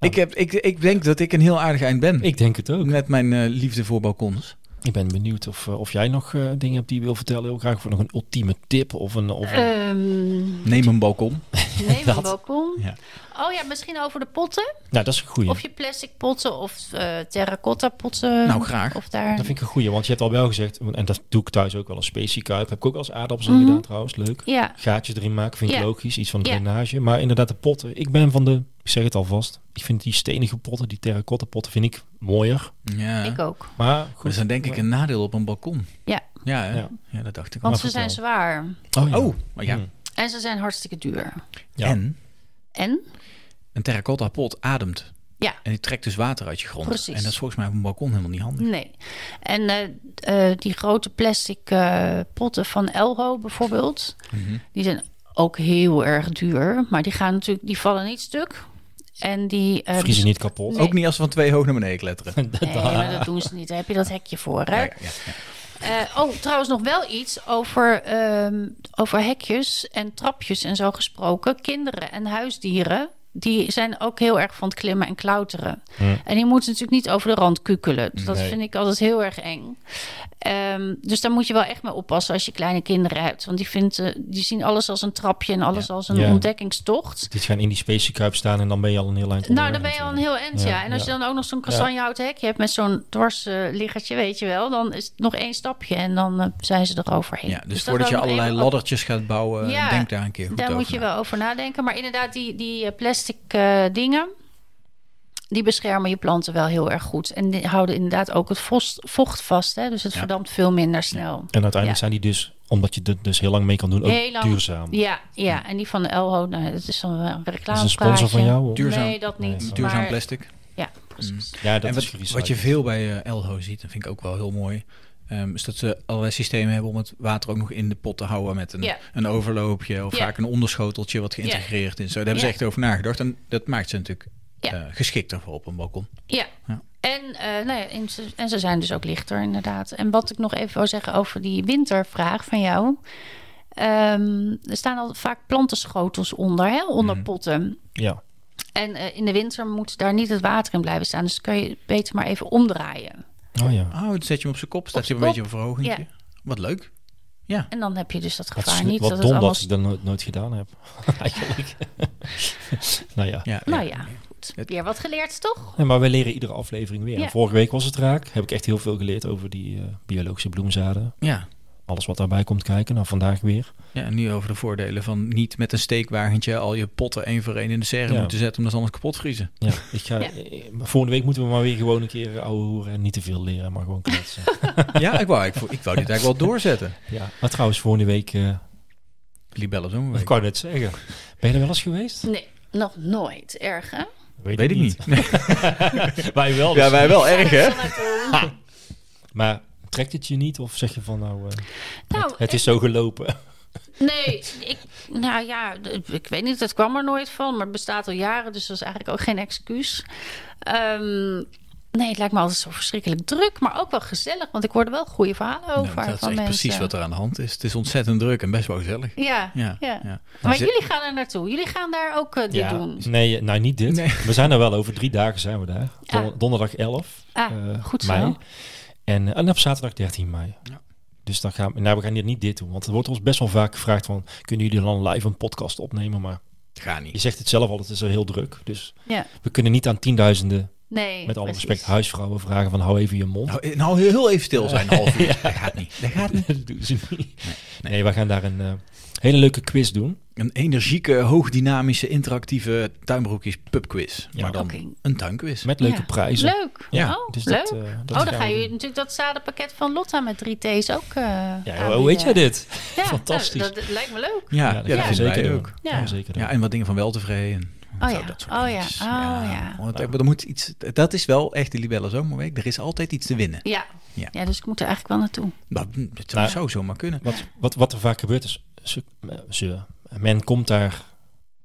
Ik, heb, ik, ik denk dat ik een heel aardig eind ben. ik denk het ook. Met mijn eh, liefde voor balkons. Ik ben benieuwd of, eh, of jij nog eh, dingen hebt die je wil vertellen. Heel graag voor nog een ultieme tip of een... Of Eh, een Ehm Neem een balkon. neem Dat. een balkon. Ja. Oh ja, misschien over de potten. nou, dat is een goeie. Of je plastic potten of eh, terracotta potten. Nou, graag. Of daar. Dat vind ik een goeie, want je hebt al wel gezegd, en dat doe ik thuis ook wel als speciekuip. Heb ik ook wel eens aardappels in Mhm. gedaan trouwens, leuk. Ja, Gaatjes erin maken vind ik Ja. logisch, iets van Ja. drainage. Maar inderdaad de potten, ik ben van de, ik zeg het alvast, ik vind die stenige potten, die terracotta potten vind ik mooier. Ja. ik ook. Maar goed. Dat is dan denk ik een nadeel op een balkon. Ja. Ja, hè? Ja. ja. dat dacht ik. Want al. ze zijn vertel. zwaar. Oh, ja. Oh, maar ja. Hmm. En ze zijn hartstikke duur. Ja. En En? een terracotta pot ademt. Ja. En die trekt dus water uit je grond. Precies. En dat is volgens mij op een balkon helemaal niet handig. Nee. En eh, eh, die grote plastic eh, potten van Elho bijvoorbeeld, Mhm. die zijn ook heel erg duur. Maar die gaan natuurlijk, die vallen niet stuk. En die. eh, Vriezen niet kapot. Nee. Ook niet als ze van twee hoog naar beneden kletteren. Nee, maar dat doen ze niet. Daar heb je dat hekje voor. Ja, Hè? ja, ja. Eh, oh, trouwens nog wel iets over, ehm, over hekjes en trapjes en zo gesproken. Kinderen en huisdieren, die zijn ook heel erg van het klimmen en klauteren. En die moeten natuurlijk niet over de rand kukelen. Dus dat Nee. vind ik altijd heel erg eng. Ehm, dus daar moet je wel echt mee oppassen als je kleine kinderen hebt. Want die, vindt, eh, die zien alles als een trapje en alles als een Ja. ontdekkingstocht. Dit gaan in die speciekuip staan en dan ben je al een heel eind Nou, dan onderweg ben je al een heel eind, ja. Ja, En als ja. je dan ook nog zo'n kastanjehouten hekje hebt met zo'n dwarsliggertje, weet je wel, dan is het nog één stapje en dan eh, zijn ze eroverheen. Ja, dus, dat voordat je wel nog allerlei even- laddertjes gaat bouwen, Ja, denk daar een keer goed Daar over moet je na. wel over nadenken. Maar inderdaad, die, die eh, plastic eh, dingen, die beschermen je planten wel heel erg goed. En die houden inderdaad ook het vos- vocht vast, hè? dus het Ja. verdampt veel minder snel. En uiteindelijk Ja. zijn die dus, omdat je dit dus heel lang mee kan doen, ook Heel lang. duurzaam. Ja, ja, en die van de Elho, nou, dat is dan wel een reclame. Dat is een sponsor van jou. hoor. Duurzaam. Nee, dat niet. Nee, Duurzaam maar- plastic. Ja, precies. Ja, dat en is wat, gerecycled. wat je veel bij eh, Elho ziet, dat vind ik ook wel heel mooi, ehm, is dat ze allerlei systemen hebben om het water ook nog in de pot te houden met een, Ja. een overloopje of Ja. vaak een onderschoteltje wat geïntegreerd is. Zo, daar hebben ze Ja. echt over nagedacht en dat maakt ze natuurlijk Ja. eh, geschikter voor op een balkon. Ja. Ja. En, eh, nou ja, en, ze, en ze zijn dus ook lichter, inderdaad. En wat ik nog even wil zeggen over die wintervraag van jou. Ehm, er staan al vaak plantenschotels onder, hè, onder potten. Ja. En eh, in de winter moet daar niet het water in blijven staan. Dus dat kun je beter maar even omdraaien. Oh ja. Oh, dan zet je hem op zijn kop, staat Op hij een z'n beetje een verhoging. Ja. Wat leuk. En dan heb je dus dat Wat, gevaar is, niet. wat dat dom het allemaal... dat ik dat nooit, nooit gedaan heb. Eigenlijk. nou ja. Ja, Nou ja. ja, goed. Weer wat geleerd, toch? Ja, maar we leren iedere aflevering weer. Ja. Vorige week was het raak. Heb ik echt heel veel geleerd over die eh, biologische bloemzaden. Ja. Alles wat daarbij komt kijken. Nou, vandaag weer. Ja, en nu over de voordelen van niet met een steekwagentje al je potten één voor één in de serre Ja. moeten zetten, omdat ze anders kapot vriezen. Ja, ik ga, Ja. eh, maar volgende week moeten we maar weer gewoon een keer eh, ouwe hoeren. En niet te veel leren, maar gewoon kletsen. ja, ik wou, ik, vo- ik wou dit eigenlijk wel doorzetten. ja. Maar trouwens, volgende week... eh Libelle ik zomerweek. wou net zeggen. Ben je er wel eens geweest? Nee, nog nooit. Erg, hè? Weet ik niet. wij wel. Ja, dus. wij wel erg, hè? Maar trekt het je niet? Of zeg je van nou, eh, Nou, het, het is zo gelopen. Nee, ik, nou ja, d- ik weet niet, het kwam er nooit van, maar het bestaat al jaren, dus dat is eigenlijk ook geen excuus. Ehm, nee, het lijkt me altijd zo verschrikkelijk druk, maar ook wel gezellig, want ik hoorde wel goede verhalen Nou, over. dat is van echt mensen. precies wat er aan de hand is. Het is ontzettend druk en best wel gezellig. Ja, ja. Ja, Nou, ja. maar ze- jullie gaan er naartoe. Jullie gaan daar ook eh, dit doen. Nee, eh, nou niet dit. Nee. We zijn er wel over drie dagen zijn we daar. Don- Ah. Donderdag 11 Ah, eh, goed zo. mei. En, eh, en op zaterdag 13 mei. Ja. Dus dan gaan we, nou, we gaan dit niet dit doen. Want er wordt ons best wel vaak gevraagd van, kunnen jullie dan live een podcast opnemen? Maar Ga je niet. zegt het zelf al, het is er heel druk. Dus Ja. we kunnen niet aan tienduizenden, Nee, met alle precies. respect, huisvrouwen vragen van, hou even je mond. Nou, eh, nou, heel, heel even stil zijn, een half uur. Dat gaat niet. Dat gaat niet. dat doen ze niet. Nee, we gaan daar een eh, hele leuke quiz doen. Een energieke, hoogdynamische, interactieve tuinbroekjes pubquiz. Ja. Maar dan Oké. een tuinquiz. Met leuke Ja. prijzen. Leuk. Ja, oh, dus leuk. dat, eh, dat oh, gaan dan we gaan jullie doen. natuurlijk dat zadenpakket van Lotta met drie T's ook. eh, Ja, aanbieden. hoe weet jij dit? Ja, Fantastisch. nou, dat, dat lijkt me leuk. Ja, ja, dat gaan is we zeker zeker doen. ook. Ja. Ja. zeker doen. Ja, en wat dingen van weltevreden. en Oh zo, ja. dat soort Oh ja. dingetjes. Oh ja. Want, eh, maar er moet iets, dat is wel echt de Libelle Zomerweek. Er is altijd iets te winnen. Ja, Ja. Ja, dus ik moet er eigenlijk wel naartoe. Dat, hm, dat zou Nou, zo zomaar kunnen. Wat, wat, wat er vaak gebeurt is, ze, ze- men komt daar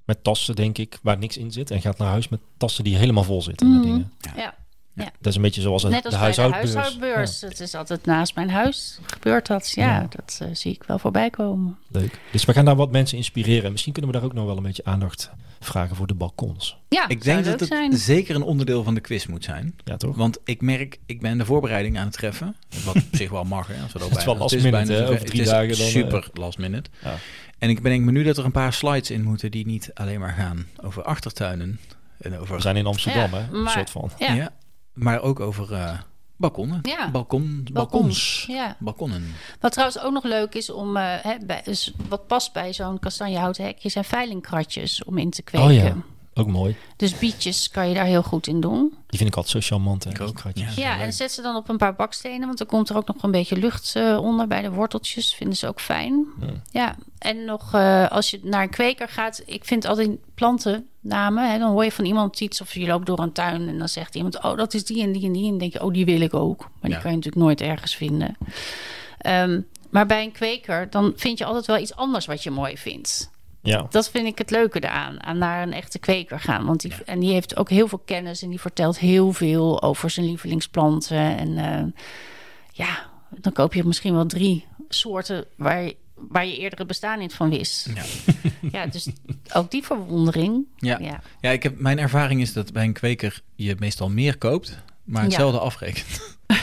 met tassen, denk ik, waar niks in zit. En gaat naar huis met tassen die helemaal vol zitten met Mhm. dingen. Ja. Dat is een beetje zoals Net als de bij de huishoudbeurs. huishoudbeurs. Het is altijd naast mijn huis. Gebeurt dat? Ja, Ja. dat eh, zie ik wel voorbij komen. Ja, leuk. Dus we gaan daar wat mensen inspireren. En misschien kunnen we daar ook nog wel een beetje aandacht vragen voor de balkons. Ja, Ik zou denk dat leuk het zijn. zeker een onderdeel van de quiz moet zijn. Ja, toch? Want ik merk, ik ben de voorbereiding aan het treffen. Wat op zich wel mag, hè. Als we dat Het is bijna- wel last minute, hè, zover. over drie het is dagen dan, eh. super last minute. Ja. En ik bedenk me nu dat er een paar slides in moeten die niet alleen maar gaan over achtertuinen. En over, We zijn in Amsterdam, Ja, hè? Een maar- soort van. Ja. Ja. maar ook over eh, balkonnen. Ja. Balkon, balkons. Balkonnen. Wat trouwens ook nog leuk is om, eh, hè, bij, is wat past bij zo'n kastanjehouten hekje, zijn veilingkratjes om in te kweken. Oh ja, ook mooi. Dus bietjes kan je daar heel goed in doen. Die vind ik altijd zo charmant. Hè? Ik ook, die kratjes. ja. Ja, en zet ze dan op een paar bakstenen, want dan komt er ook nog een beetje lucht eh, onder bij de worteltjes. Vinden ze ook fijn. Ja, en nog eh, als je naar een kweker gaat, ik vind altijd plantennamen, hè, dan hoor je van iemand iets of je loopt door een tuin en dan zegt iemand, oh dat is die en die en die. En dan denk je, oh die wil ik ook. Maar die Ja. kan je natuurlijk nooit ergens vinden. Ehm, maar bij een kweker, dan vind je altijd wel iets anders wat je mooi vindt. Ja. Dat vind ik het leuke eraan, aan naar een echte kweker gaan. Want die, En die heeft ook heel veel kennis en die vertelt heel veel over zijn lievelingsplanten. En eh, ja, dan koop je misschien wel drie soorten waar je, waar je eerder het bestaan niet van wist. Ja. Ja, dus ook die verwondering. Ja. Ja. Ja, ik heb, mijn ervaring is dat bij een kweker je meestal meer koopt, maar Ja. hetzelfde afrekent. Ja,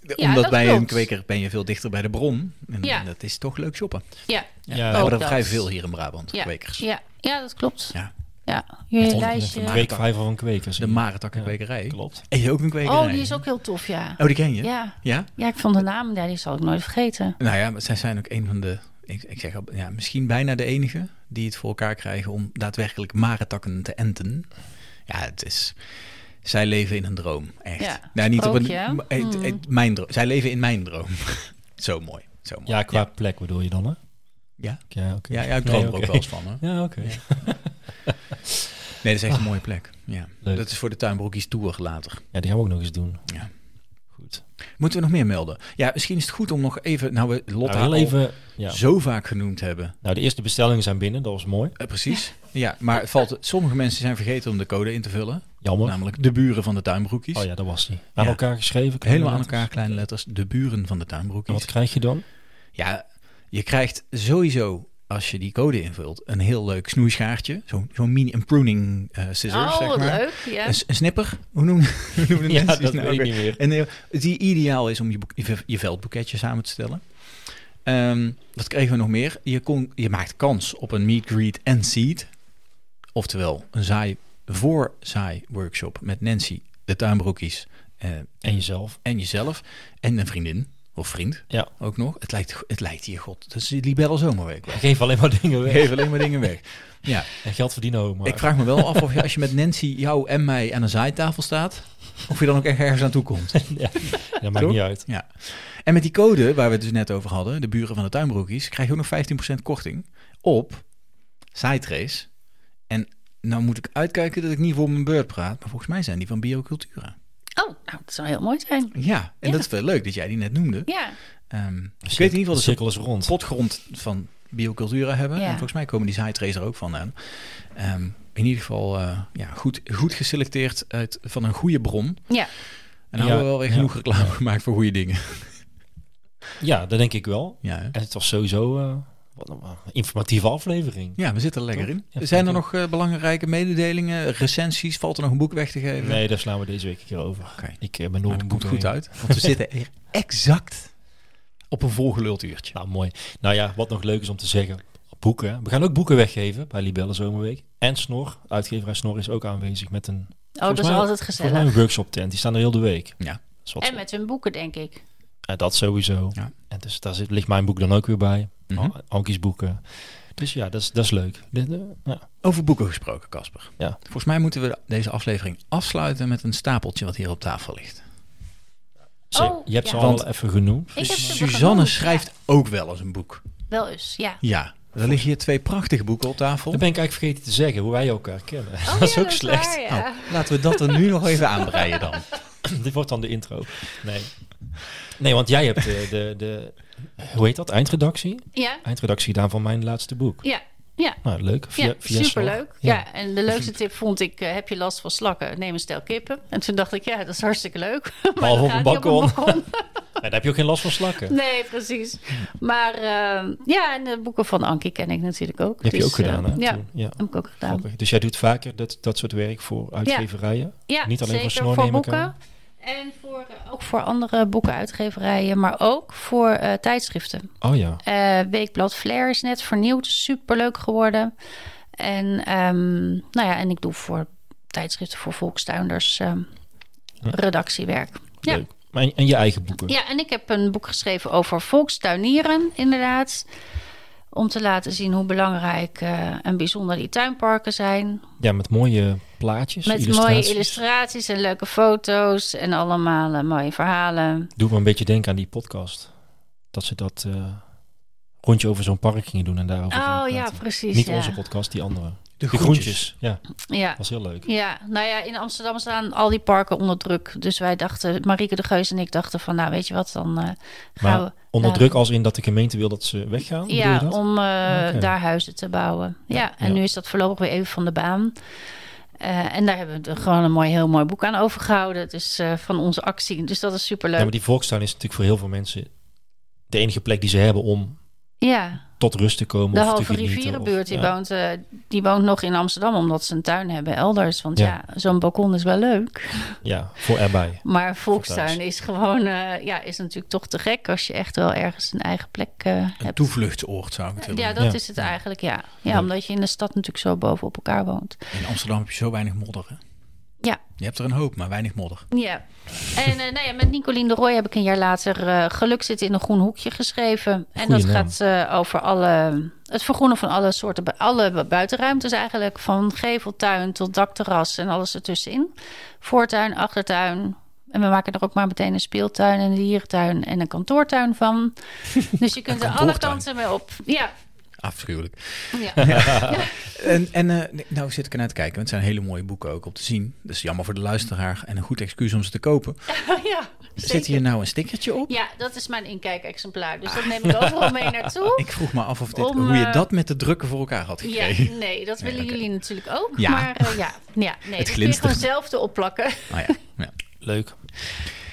ja, Omdat dat bij een klopt. kweker ben je veel dichter bij de bron. En Ja. dat is toch leuk shoppen. ja, we Ja, ook hebben er dat. vrij veel hier in Brabant, ja, kwekers. ja, ja, dat klopt. Ja. Ja, je Een lijstje. Kweekvijver van kwekers. De Maretakken kwekerij. Klopt. En je ook een kwekerij. Oh, die is ook heel tof, ja. Oh, die ken je? Ja, Ja? ja ik vond de naam, ja, die zal ik nooit vergeten. Nou ja, maar zij zijn ook een van de, ik, ik zeg al, ja, misschien bijna de enige die het voor elkaar krijgen om daadwerkelijk maretakken te enten. Ja, het is, zij leven in een droom, echt. Ja, nou, niet op een, sprookje, hè? Hmm. maar het- het- mijn droom. Zij leven in mijn droom. zo mooi, zo mooi. Ja, qua plek bedoel je dan, hè? Ja. Ja, oké. Ja, ja, ik Nee, droom er oké. ook wel eens van. Hè? Ja, oké. Nee, dat is echt een mooie plek. Ja. Ah. Leuk. Dat is voor de tuinbroekies tour later. Ja, die gaan we ook nog eens doen. Ja. Goed. Moeten we nog meer melden? Ja, misschien is het goed om nog even... Nou, we Lotta Nou, heel al even. Ja. zo vaak genoemd hebben. Nou, de eerste bestellingen zijn binnen, dat was mooi. Eh, precies. Ja, maar het valt, sommige mensen zijn vergeten om de code in te vullen. Jammer. Namelijk de buren van de tuinbroekies. oh ja, dat was die. Aan Nou, Ja. elkaar geschreven. kleine Helemaal aan letters. elkaar, kleine letters. De buren van de En wat tuinbroekies. krijg je dan? Ja, je krijgt sowieso, als je die code invult, een heel leuk snoeischaartje. Zo'n zo'n mini een pruning eh scissors, oh, zeg wat maar. leuk. Ja. Een, s- een snipper, hoe noemen, hoe noemen Ja, mensen die dat nou weet ik weer? niet meer. En eh, die ideaal is om je, boek- je, je veldboeketje samen te stellen. Ehm, dat kregen we nog meer. Je, kon, je maakt kans op een meet, greet en seed. Oftewel, een zaai voor zaai workshop met Nancy, de tuinbroekies eh, En jezelf. en jezelf. En een vriendin of vriend Ja. ook nog. Het lijkt, het lijkt hier, god, dat is die Libelle Zomerweek. wel. Ik geef alleen maar dingen weg. Geef alleen maar dingen weg. Ja, En geld verdienen ook maar. ik vraag me wel af of je, als je met Nancy, jou en mij aan een zaaitafel staat, of je dan ook echt ergens aan toe komt. dat maakt niet Doe. uit. Ja. En met die code waar we het dus net over hadden, de buren van de tuinbroekies, krijg je ook nog 15% korting op Sidetrace. En nou moet ik uitkijken dat ik niet voor mijn beurt praat, maar volgens mij zijn die van Biocultura. Oh, nou, dat zou heel mooi zijn. Ja, en Ja. dat is wel leuk dat jij die net noemde. Ja, Ehm, ik weet in ieder geval De dat ze cirkel is rond. potgrond van Biocultura hebben. Ja. En volgens mij komen die Sidetrace er ook vandaan. Ehm in ieder geval eh, ja, goed, goed geselecteerd uit, van een goede bron. ja. En dan hebben we Ja, wel weer ja. genoeg reclame gemaakt voor goede dingen. Ja, dat denk ik wel. Ja, hè? En het was sowieso eh, wat een eh, informatieve aflevering. Ja, we zitten er lekker Toch? in. Ja, Zijn er vind ik nog eh, belangrijke mededelingen, recensies? Valt er nog een boek weg te geven? Nee, daar slaan we deze week een keer over. Oké. Ik eh, ben door Nou, dat een komt boek goed heen. uit. Want we zitten hier exact op een volgeluld uurtje. Nou, mooi. Nou ja, wat nog leuk is om te zeggen. Boeken. We gaan ook boeken weggeven bij Libelle Zomerweek. En Snor, uitgeverij Snor is ook aanwezig met een, Oh, dat is mij- altijd volgens mij gezellig. een workshop tent. Die staan er heel de week. Ja. Dat is wat En zo- met hun boeken, denk ik. Ja, dat sowieso. Ja. En dus daar zit, ligt mijn boek dan ook weer bij. Mhm. Al- Ankies boeken. Dus ja, dat is, dat is leuk. Dit, eh, ja. Over boeken gesproken, Casper. Ja. Volgens mij moeten we deze aflevering afsluiten met een stapeltje wat hier op tafel ligt. Zo, Oh, je hebt ze ja. al Want- even genoemd. Ik heb ze Suzanne begonnen. schrijft ook wel eens een boek. Ja, wel eens, ja. Ja, er liggen hier twee prachtige boeken op tafel. Dan ben ik eigenlijk vergeten te zeggen hoe wij elkaar kennen. Oh, dat is ja, ook slecht. Nou, Oh. waar, ja. Laten we dat er nu nog even aanbreien dan. Dit wordt dan de intro. Nee. Nee, want jij hebt eh, de, de, de hoe heet dat, eindredactie? Ja, Eindredactie gedaan van mijn laatste boek. ja, ja. Nou, leuk. Via, Ja, via superleuk. slag. Ja. en de leukste tip vond ik, eh, heb je last van slakken? Neem een stel kippen. En toen dacht ik, ja, dat is hartstikke leuk. maar Behalve dan op gaat een die balkon. Op een balkon. Ja, daar heb je ook geen last van slakken. Nee, precies. Maar eh, ja, en de boeken van Ankie ken ik natuurlijk ook. Die heb je Dus, ook gedaan, eh, hè? ja, Toen, ja. heb ik ook gedaan. Grappig. Dus jij doet vaker dat, dat soort werk voor uitgeverijen? Ja, Niet alleen voor zeker Snor, neem ik boeken. aan. En voor, eh, ook voor andere boekenuitgeverijen, maar ook voor eh, tijdschriften. Oh ja. Eh, Weekblad Flair is net vernieuwd, superleuk geworden. En, ehm, nou ja, en ik doe voor tijdschriften voor volkstuinders ehm, redactiewerk. Ja. Leuk. Maar en, en je eigen boeken? ja, en ik heb een boek geschreven over volkstuinieren, inderdaad. Om te laten zien hoe belangrijk eh, en bijzonder die tuinparken zijn. Ja, met mooie plaatjes, Met Dus illustraties. mooie illustraties en leuke foto's en allemaal eh, mooie verhalen. Doe me een beetje denken aan die podcast. Dat ze dat eh, rondje over zo'n park gingen doen en daarover Oh gingen ja, praten. precies. Niet ja. onze podcast, die andere. De De groentjes. Ja, Ja. was heel leuk. ja, nou ja, in Amsterdam staan al die parken onder druk. Dus wij dachten, Marieke de Geus en ik dachten van, nou weet je wat, dan eh, gaan Maar we... onder daar- druk als in dat de gemeente wil dat ze weggaan? bedoel je Ja, dat? om eh, Oké. daar huizen te bouwen. Ja, Ja, en ja. nu is dat voorlopig weer even van de baan. Eh, en daar hebben we er gewoon een mooi, heel mooi boek aan overgehouden. Dus eh, van onze actie. Dus dat is Ja, superleuk. maar die volkstuin is natuurlijk voor heel veel mensen de enige plek die ze hebben om ja. tot rust te komen. De of te halve genieten, rivierenbuurt, of- die, ja. woont, eh, die woont nog in Amsterdam omdat ze een tuin hebben elders. Want ja, Ja. zo'n balkon is wel leuk. Ja, voor erbij. Maar volkstuin Fantastisch. is gewoon, eh, ja, is natuurlijk toch te gek als je echt wel ergens een eigen plek eh, Een hebt. toevluchtsoord zou ik het willen Ja, noemen. dat Ja. is het eigenlijk, ja. Ja, Leuk. omdat je in de stad natuurlijk zo bovenop elkaar woont. In Amsterdam heb je zo weinig modder, hè? Ja. Je hebt er een hoop, maar weinig modder. Ja. En eh, nou ja, met Nicolien de Roy heb ik een jaar later eh, Geluk zit in een groen hoekje geschreven. En Goeie dat naam. gaat eh, over alle, het vergroenen van alle soorten, bu- alle bu- buitenruimtes eigenlijk. Van geveltuin tot dakterras en alles ertussenin. Voortuin, achtertuin. En we maken er ook maar meteen een speeltuin, een dierentuin en een kantoortuin van. Dus je kunt er alle kantoortuin. kanten mee op. Ja, Afschuwelijk. ja. En, en eh, nee, nou zit ik ernaar te kijken. want Het zijn hele mooie boeken ook op te zien. Dus jammer voor de luisteraar en een goed excuus om ze te kopen. ja Zit hier nou een stickertje op? Ja, dat is mijn inkijkexemplaar. Dus Ah. dat neem ik overal mee naartoe. Ik vroeg me af of dit, Om, hoe je eh, dat met de drukken voor elkaar had Ja, gekregen. nee, dat willen oké. jullie natuurlijk ook. Ja. Maar eh, ja, ja, nee, Het dat kun je glinstert. gewoon zelf erop plakken. Nou ja, ja. Leuk.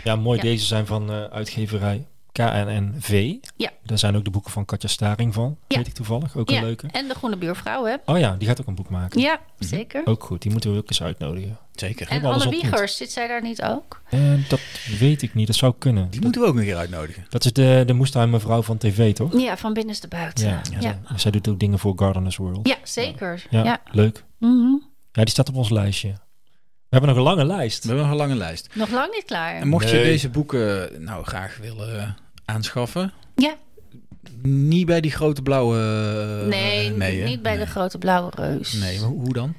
Ja, mooi. Ja. Deze zijn van eh, uitgeverij KNNV. Ja. Daar zijn ook de boeken van Katja Staring van. Ja. Weet ik toevallig. Ook Ja, een leuke. en de groene buurvrouw, hè? Oh ja, die gaat ook een boek maken. Ja, Mhm. Oh, zeker. Ook goed. Die moeten we ook eens uitnodigen. zeker. alles En Anne op moet. Wiegers, zit zij daar niet ook? Eh, dat weet ik niet. Dat zou kunnen. Die moeten we ook een keer uitnodigen. Dat is de, de moestuinmevrouw van tv, toch? Ja, van binnenste buiten. Ja, Ja. ja. ja. Zij doet ook dingen voor Gardeners World. zeker. Ja. Ja, Leuk. Mhm. Ja, die staat op ons lijstje. We hebben nog een lange lijst. We hebben nog een lange lijst. Nog lang niet klaar. En mocht je Nee. deze boeken nou graag willen eh, aanschaffen, Ja, niet bij die grote blauwe. eh, nee, hè? niet bij nee. de grote blauwe reus. Nee, maar hoe dan?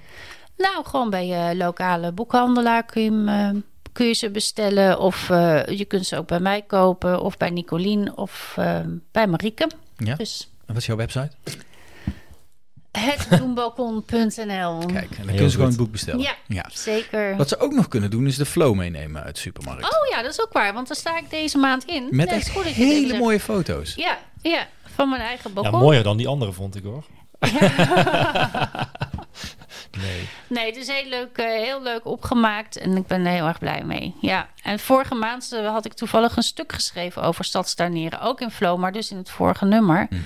Nou, gewoon bij je lokale boekhandelaar kun je, hem, eh, kun je ze bestellen. Of eh, je kunt ze ook bij mij kopen. Of bij Nicolien. Of eh, bij Marieke. Ja. Dus En Wat is jouw website? hetdoenbalkon.nl. Kijk, en dan Heel kunnen ze gewoon goed. het boek bestellen. Oh. Ja. Zeker. Wat ze ook nog kunnen doen, is de flow meenemen uit de supermarkt. Oh ja, dat is ook waar. Want daar sta ik deze maand in. Met Nee, echt is goed dat je het even hele zegt. mooie foto's. Ja, ja, van mijn eigen Ja, balkon. mooier dan die andere vond ik hoor. nee. Nee, het is heel leuk, eh, heel leuk opgemaakt en ik ben er heel erg blij mee. Ja, en vorige maand eh, had ik toevallig een stuk geschreven over stadstarnieren. Ook in Flow, maar dus in het vorige nummer. Mhm.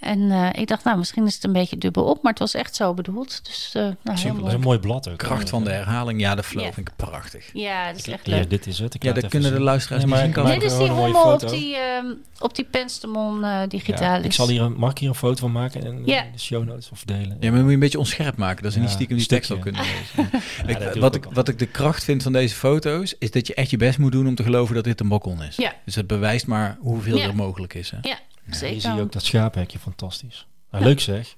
En eh, ik dacht, nou, misschien is het een beetje dubbel op, maar het was echt zo bedoeld. Dus, eh nou, heel Dat is mooi. een mooi blad ook. Kracht van de herhaling, ja, de flow Ja. vind ik prachtig. Ja, dat is echt Ja, leuk. dit is het. Ik Ja, laat dat even kunnen de zien. luisteraars Ja, niet maar zien ik komen. maak Dit is er die gewoon een mooie hommel op foto. die, ehm op die Penstemon eh die Ja, gitaal is. ik zal hier een, mag ik hier een foto van maken en eh, Ja. de show notes of delen? Ja, maar dan moet je een beetje onscherp maken, dat ze Ja, niet stiekem die tekst al stukje. kunnen lezen. Ja, Ik- dat doe wat, ook ik, al. wat ik de kracht vind van deze foto's, is dat je echt je best moet doen om te geloven dat dit een balkon is. Ja. Dus het bewijst maar hoeveel Ja. er mogelijk is. Hè? Ja, Ja, zeker. hier zie je ook dat schaaphekje, fantastisch. Nou, Leuk zeg.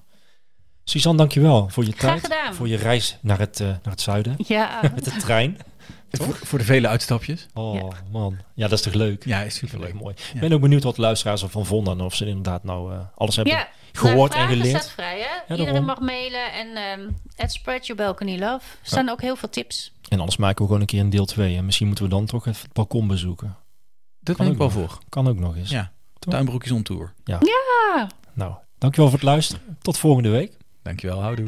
Suzanne, dankjewel voor je Graag tijd, gedaan. voor je reis naar het, eh, naar het zuiden Ja, met de trein. Voor, voor de vele uitstapjes. Oh man, ja dat is toch leuk? Ja, is Vind ik superleuk. mooi. Ik Ja. ben ook benieuwd wat de luisteraars ervan vonden en of ze inderdaad nou eh, alles hebben ja. gehoord Nou, en vragen geleerd. staat vrij, hè? daarom. Iedereen mag mailen. En ehm at Spread Your Balcony Love Er staan ook heel veel tips. En anders maken we gewoon een keer een deel 2. En misschien moeten we dan toch even het balkon bezoeken. Dat Kan ben ik ook wel nog. voor. Kan ook nog eens. Ja. Tuinbroekjes on tour. Ah, Nou, dankjewel voor het luisteren. Tot volgende week. Dankjewel, houdoe.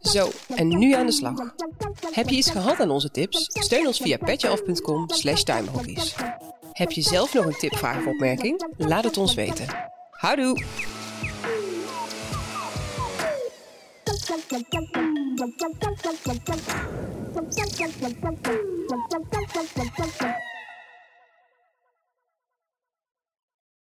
Zo, en nu aan de slag. Heb je iets gehad aan onze tips? Steun ons via petjeaf.com slash tuinbroekjes. Heb je zelf nog een tip, vraag of opmerking? Laat het ons weten. Houdoe! Thank you.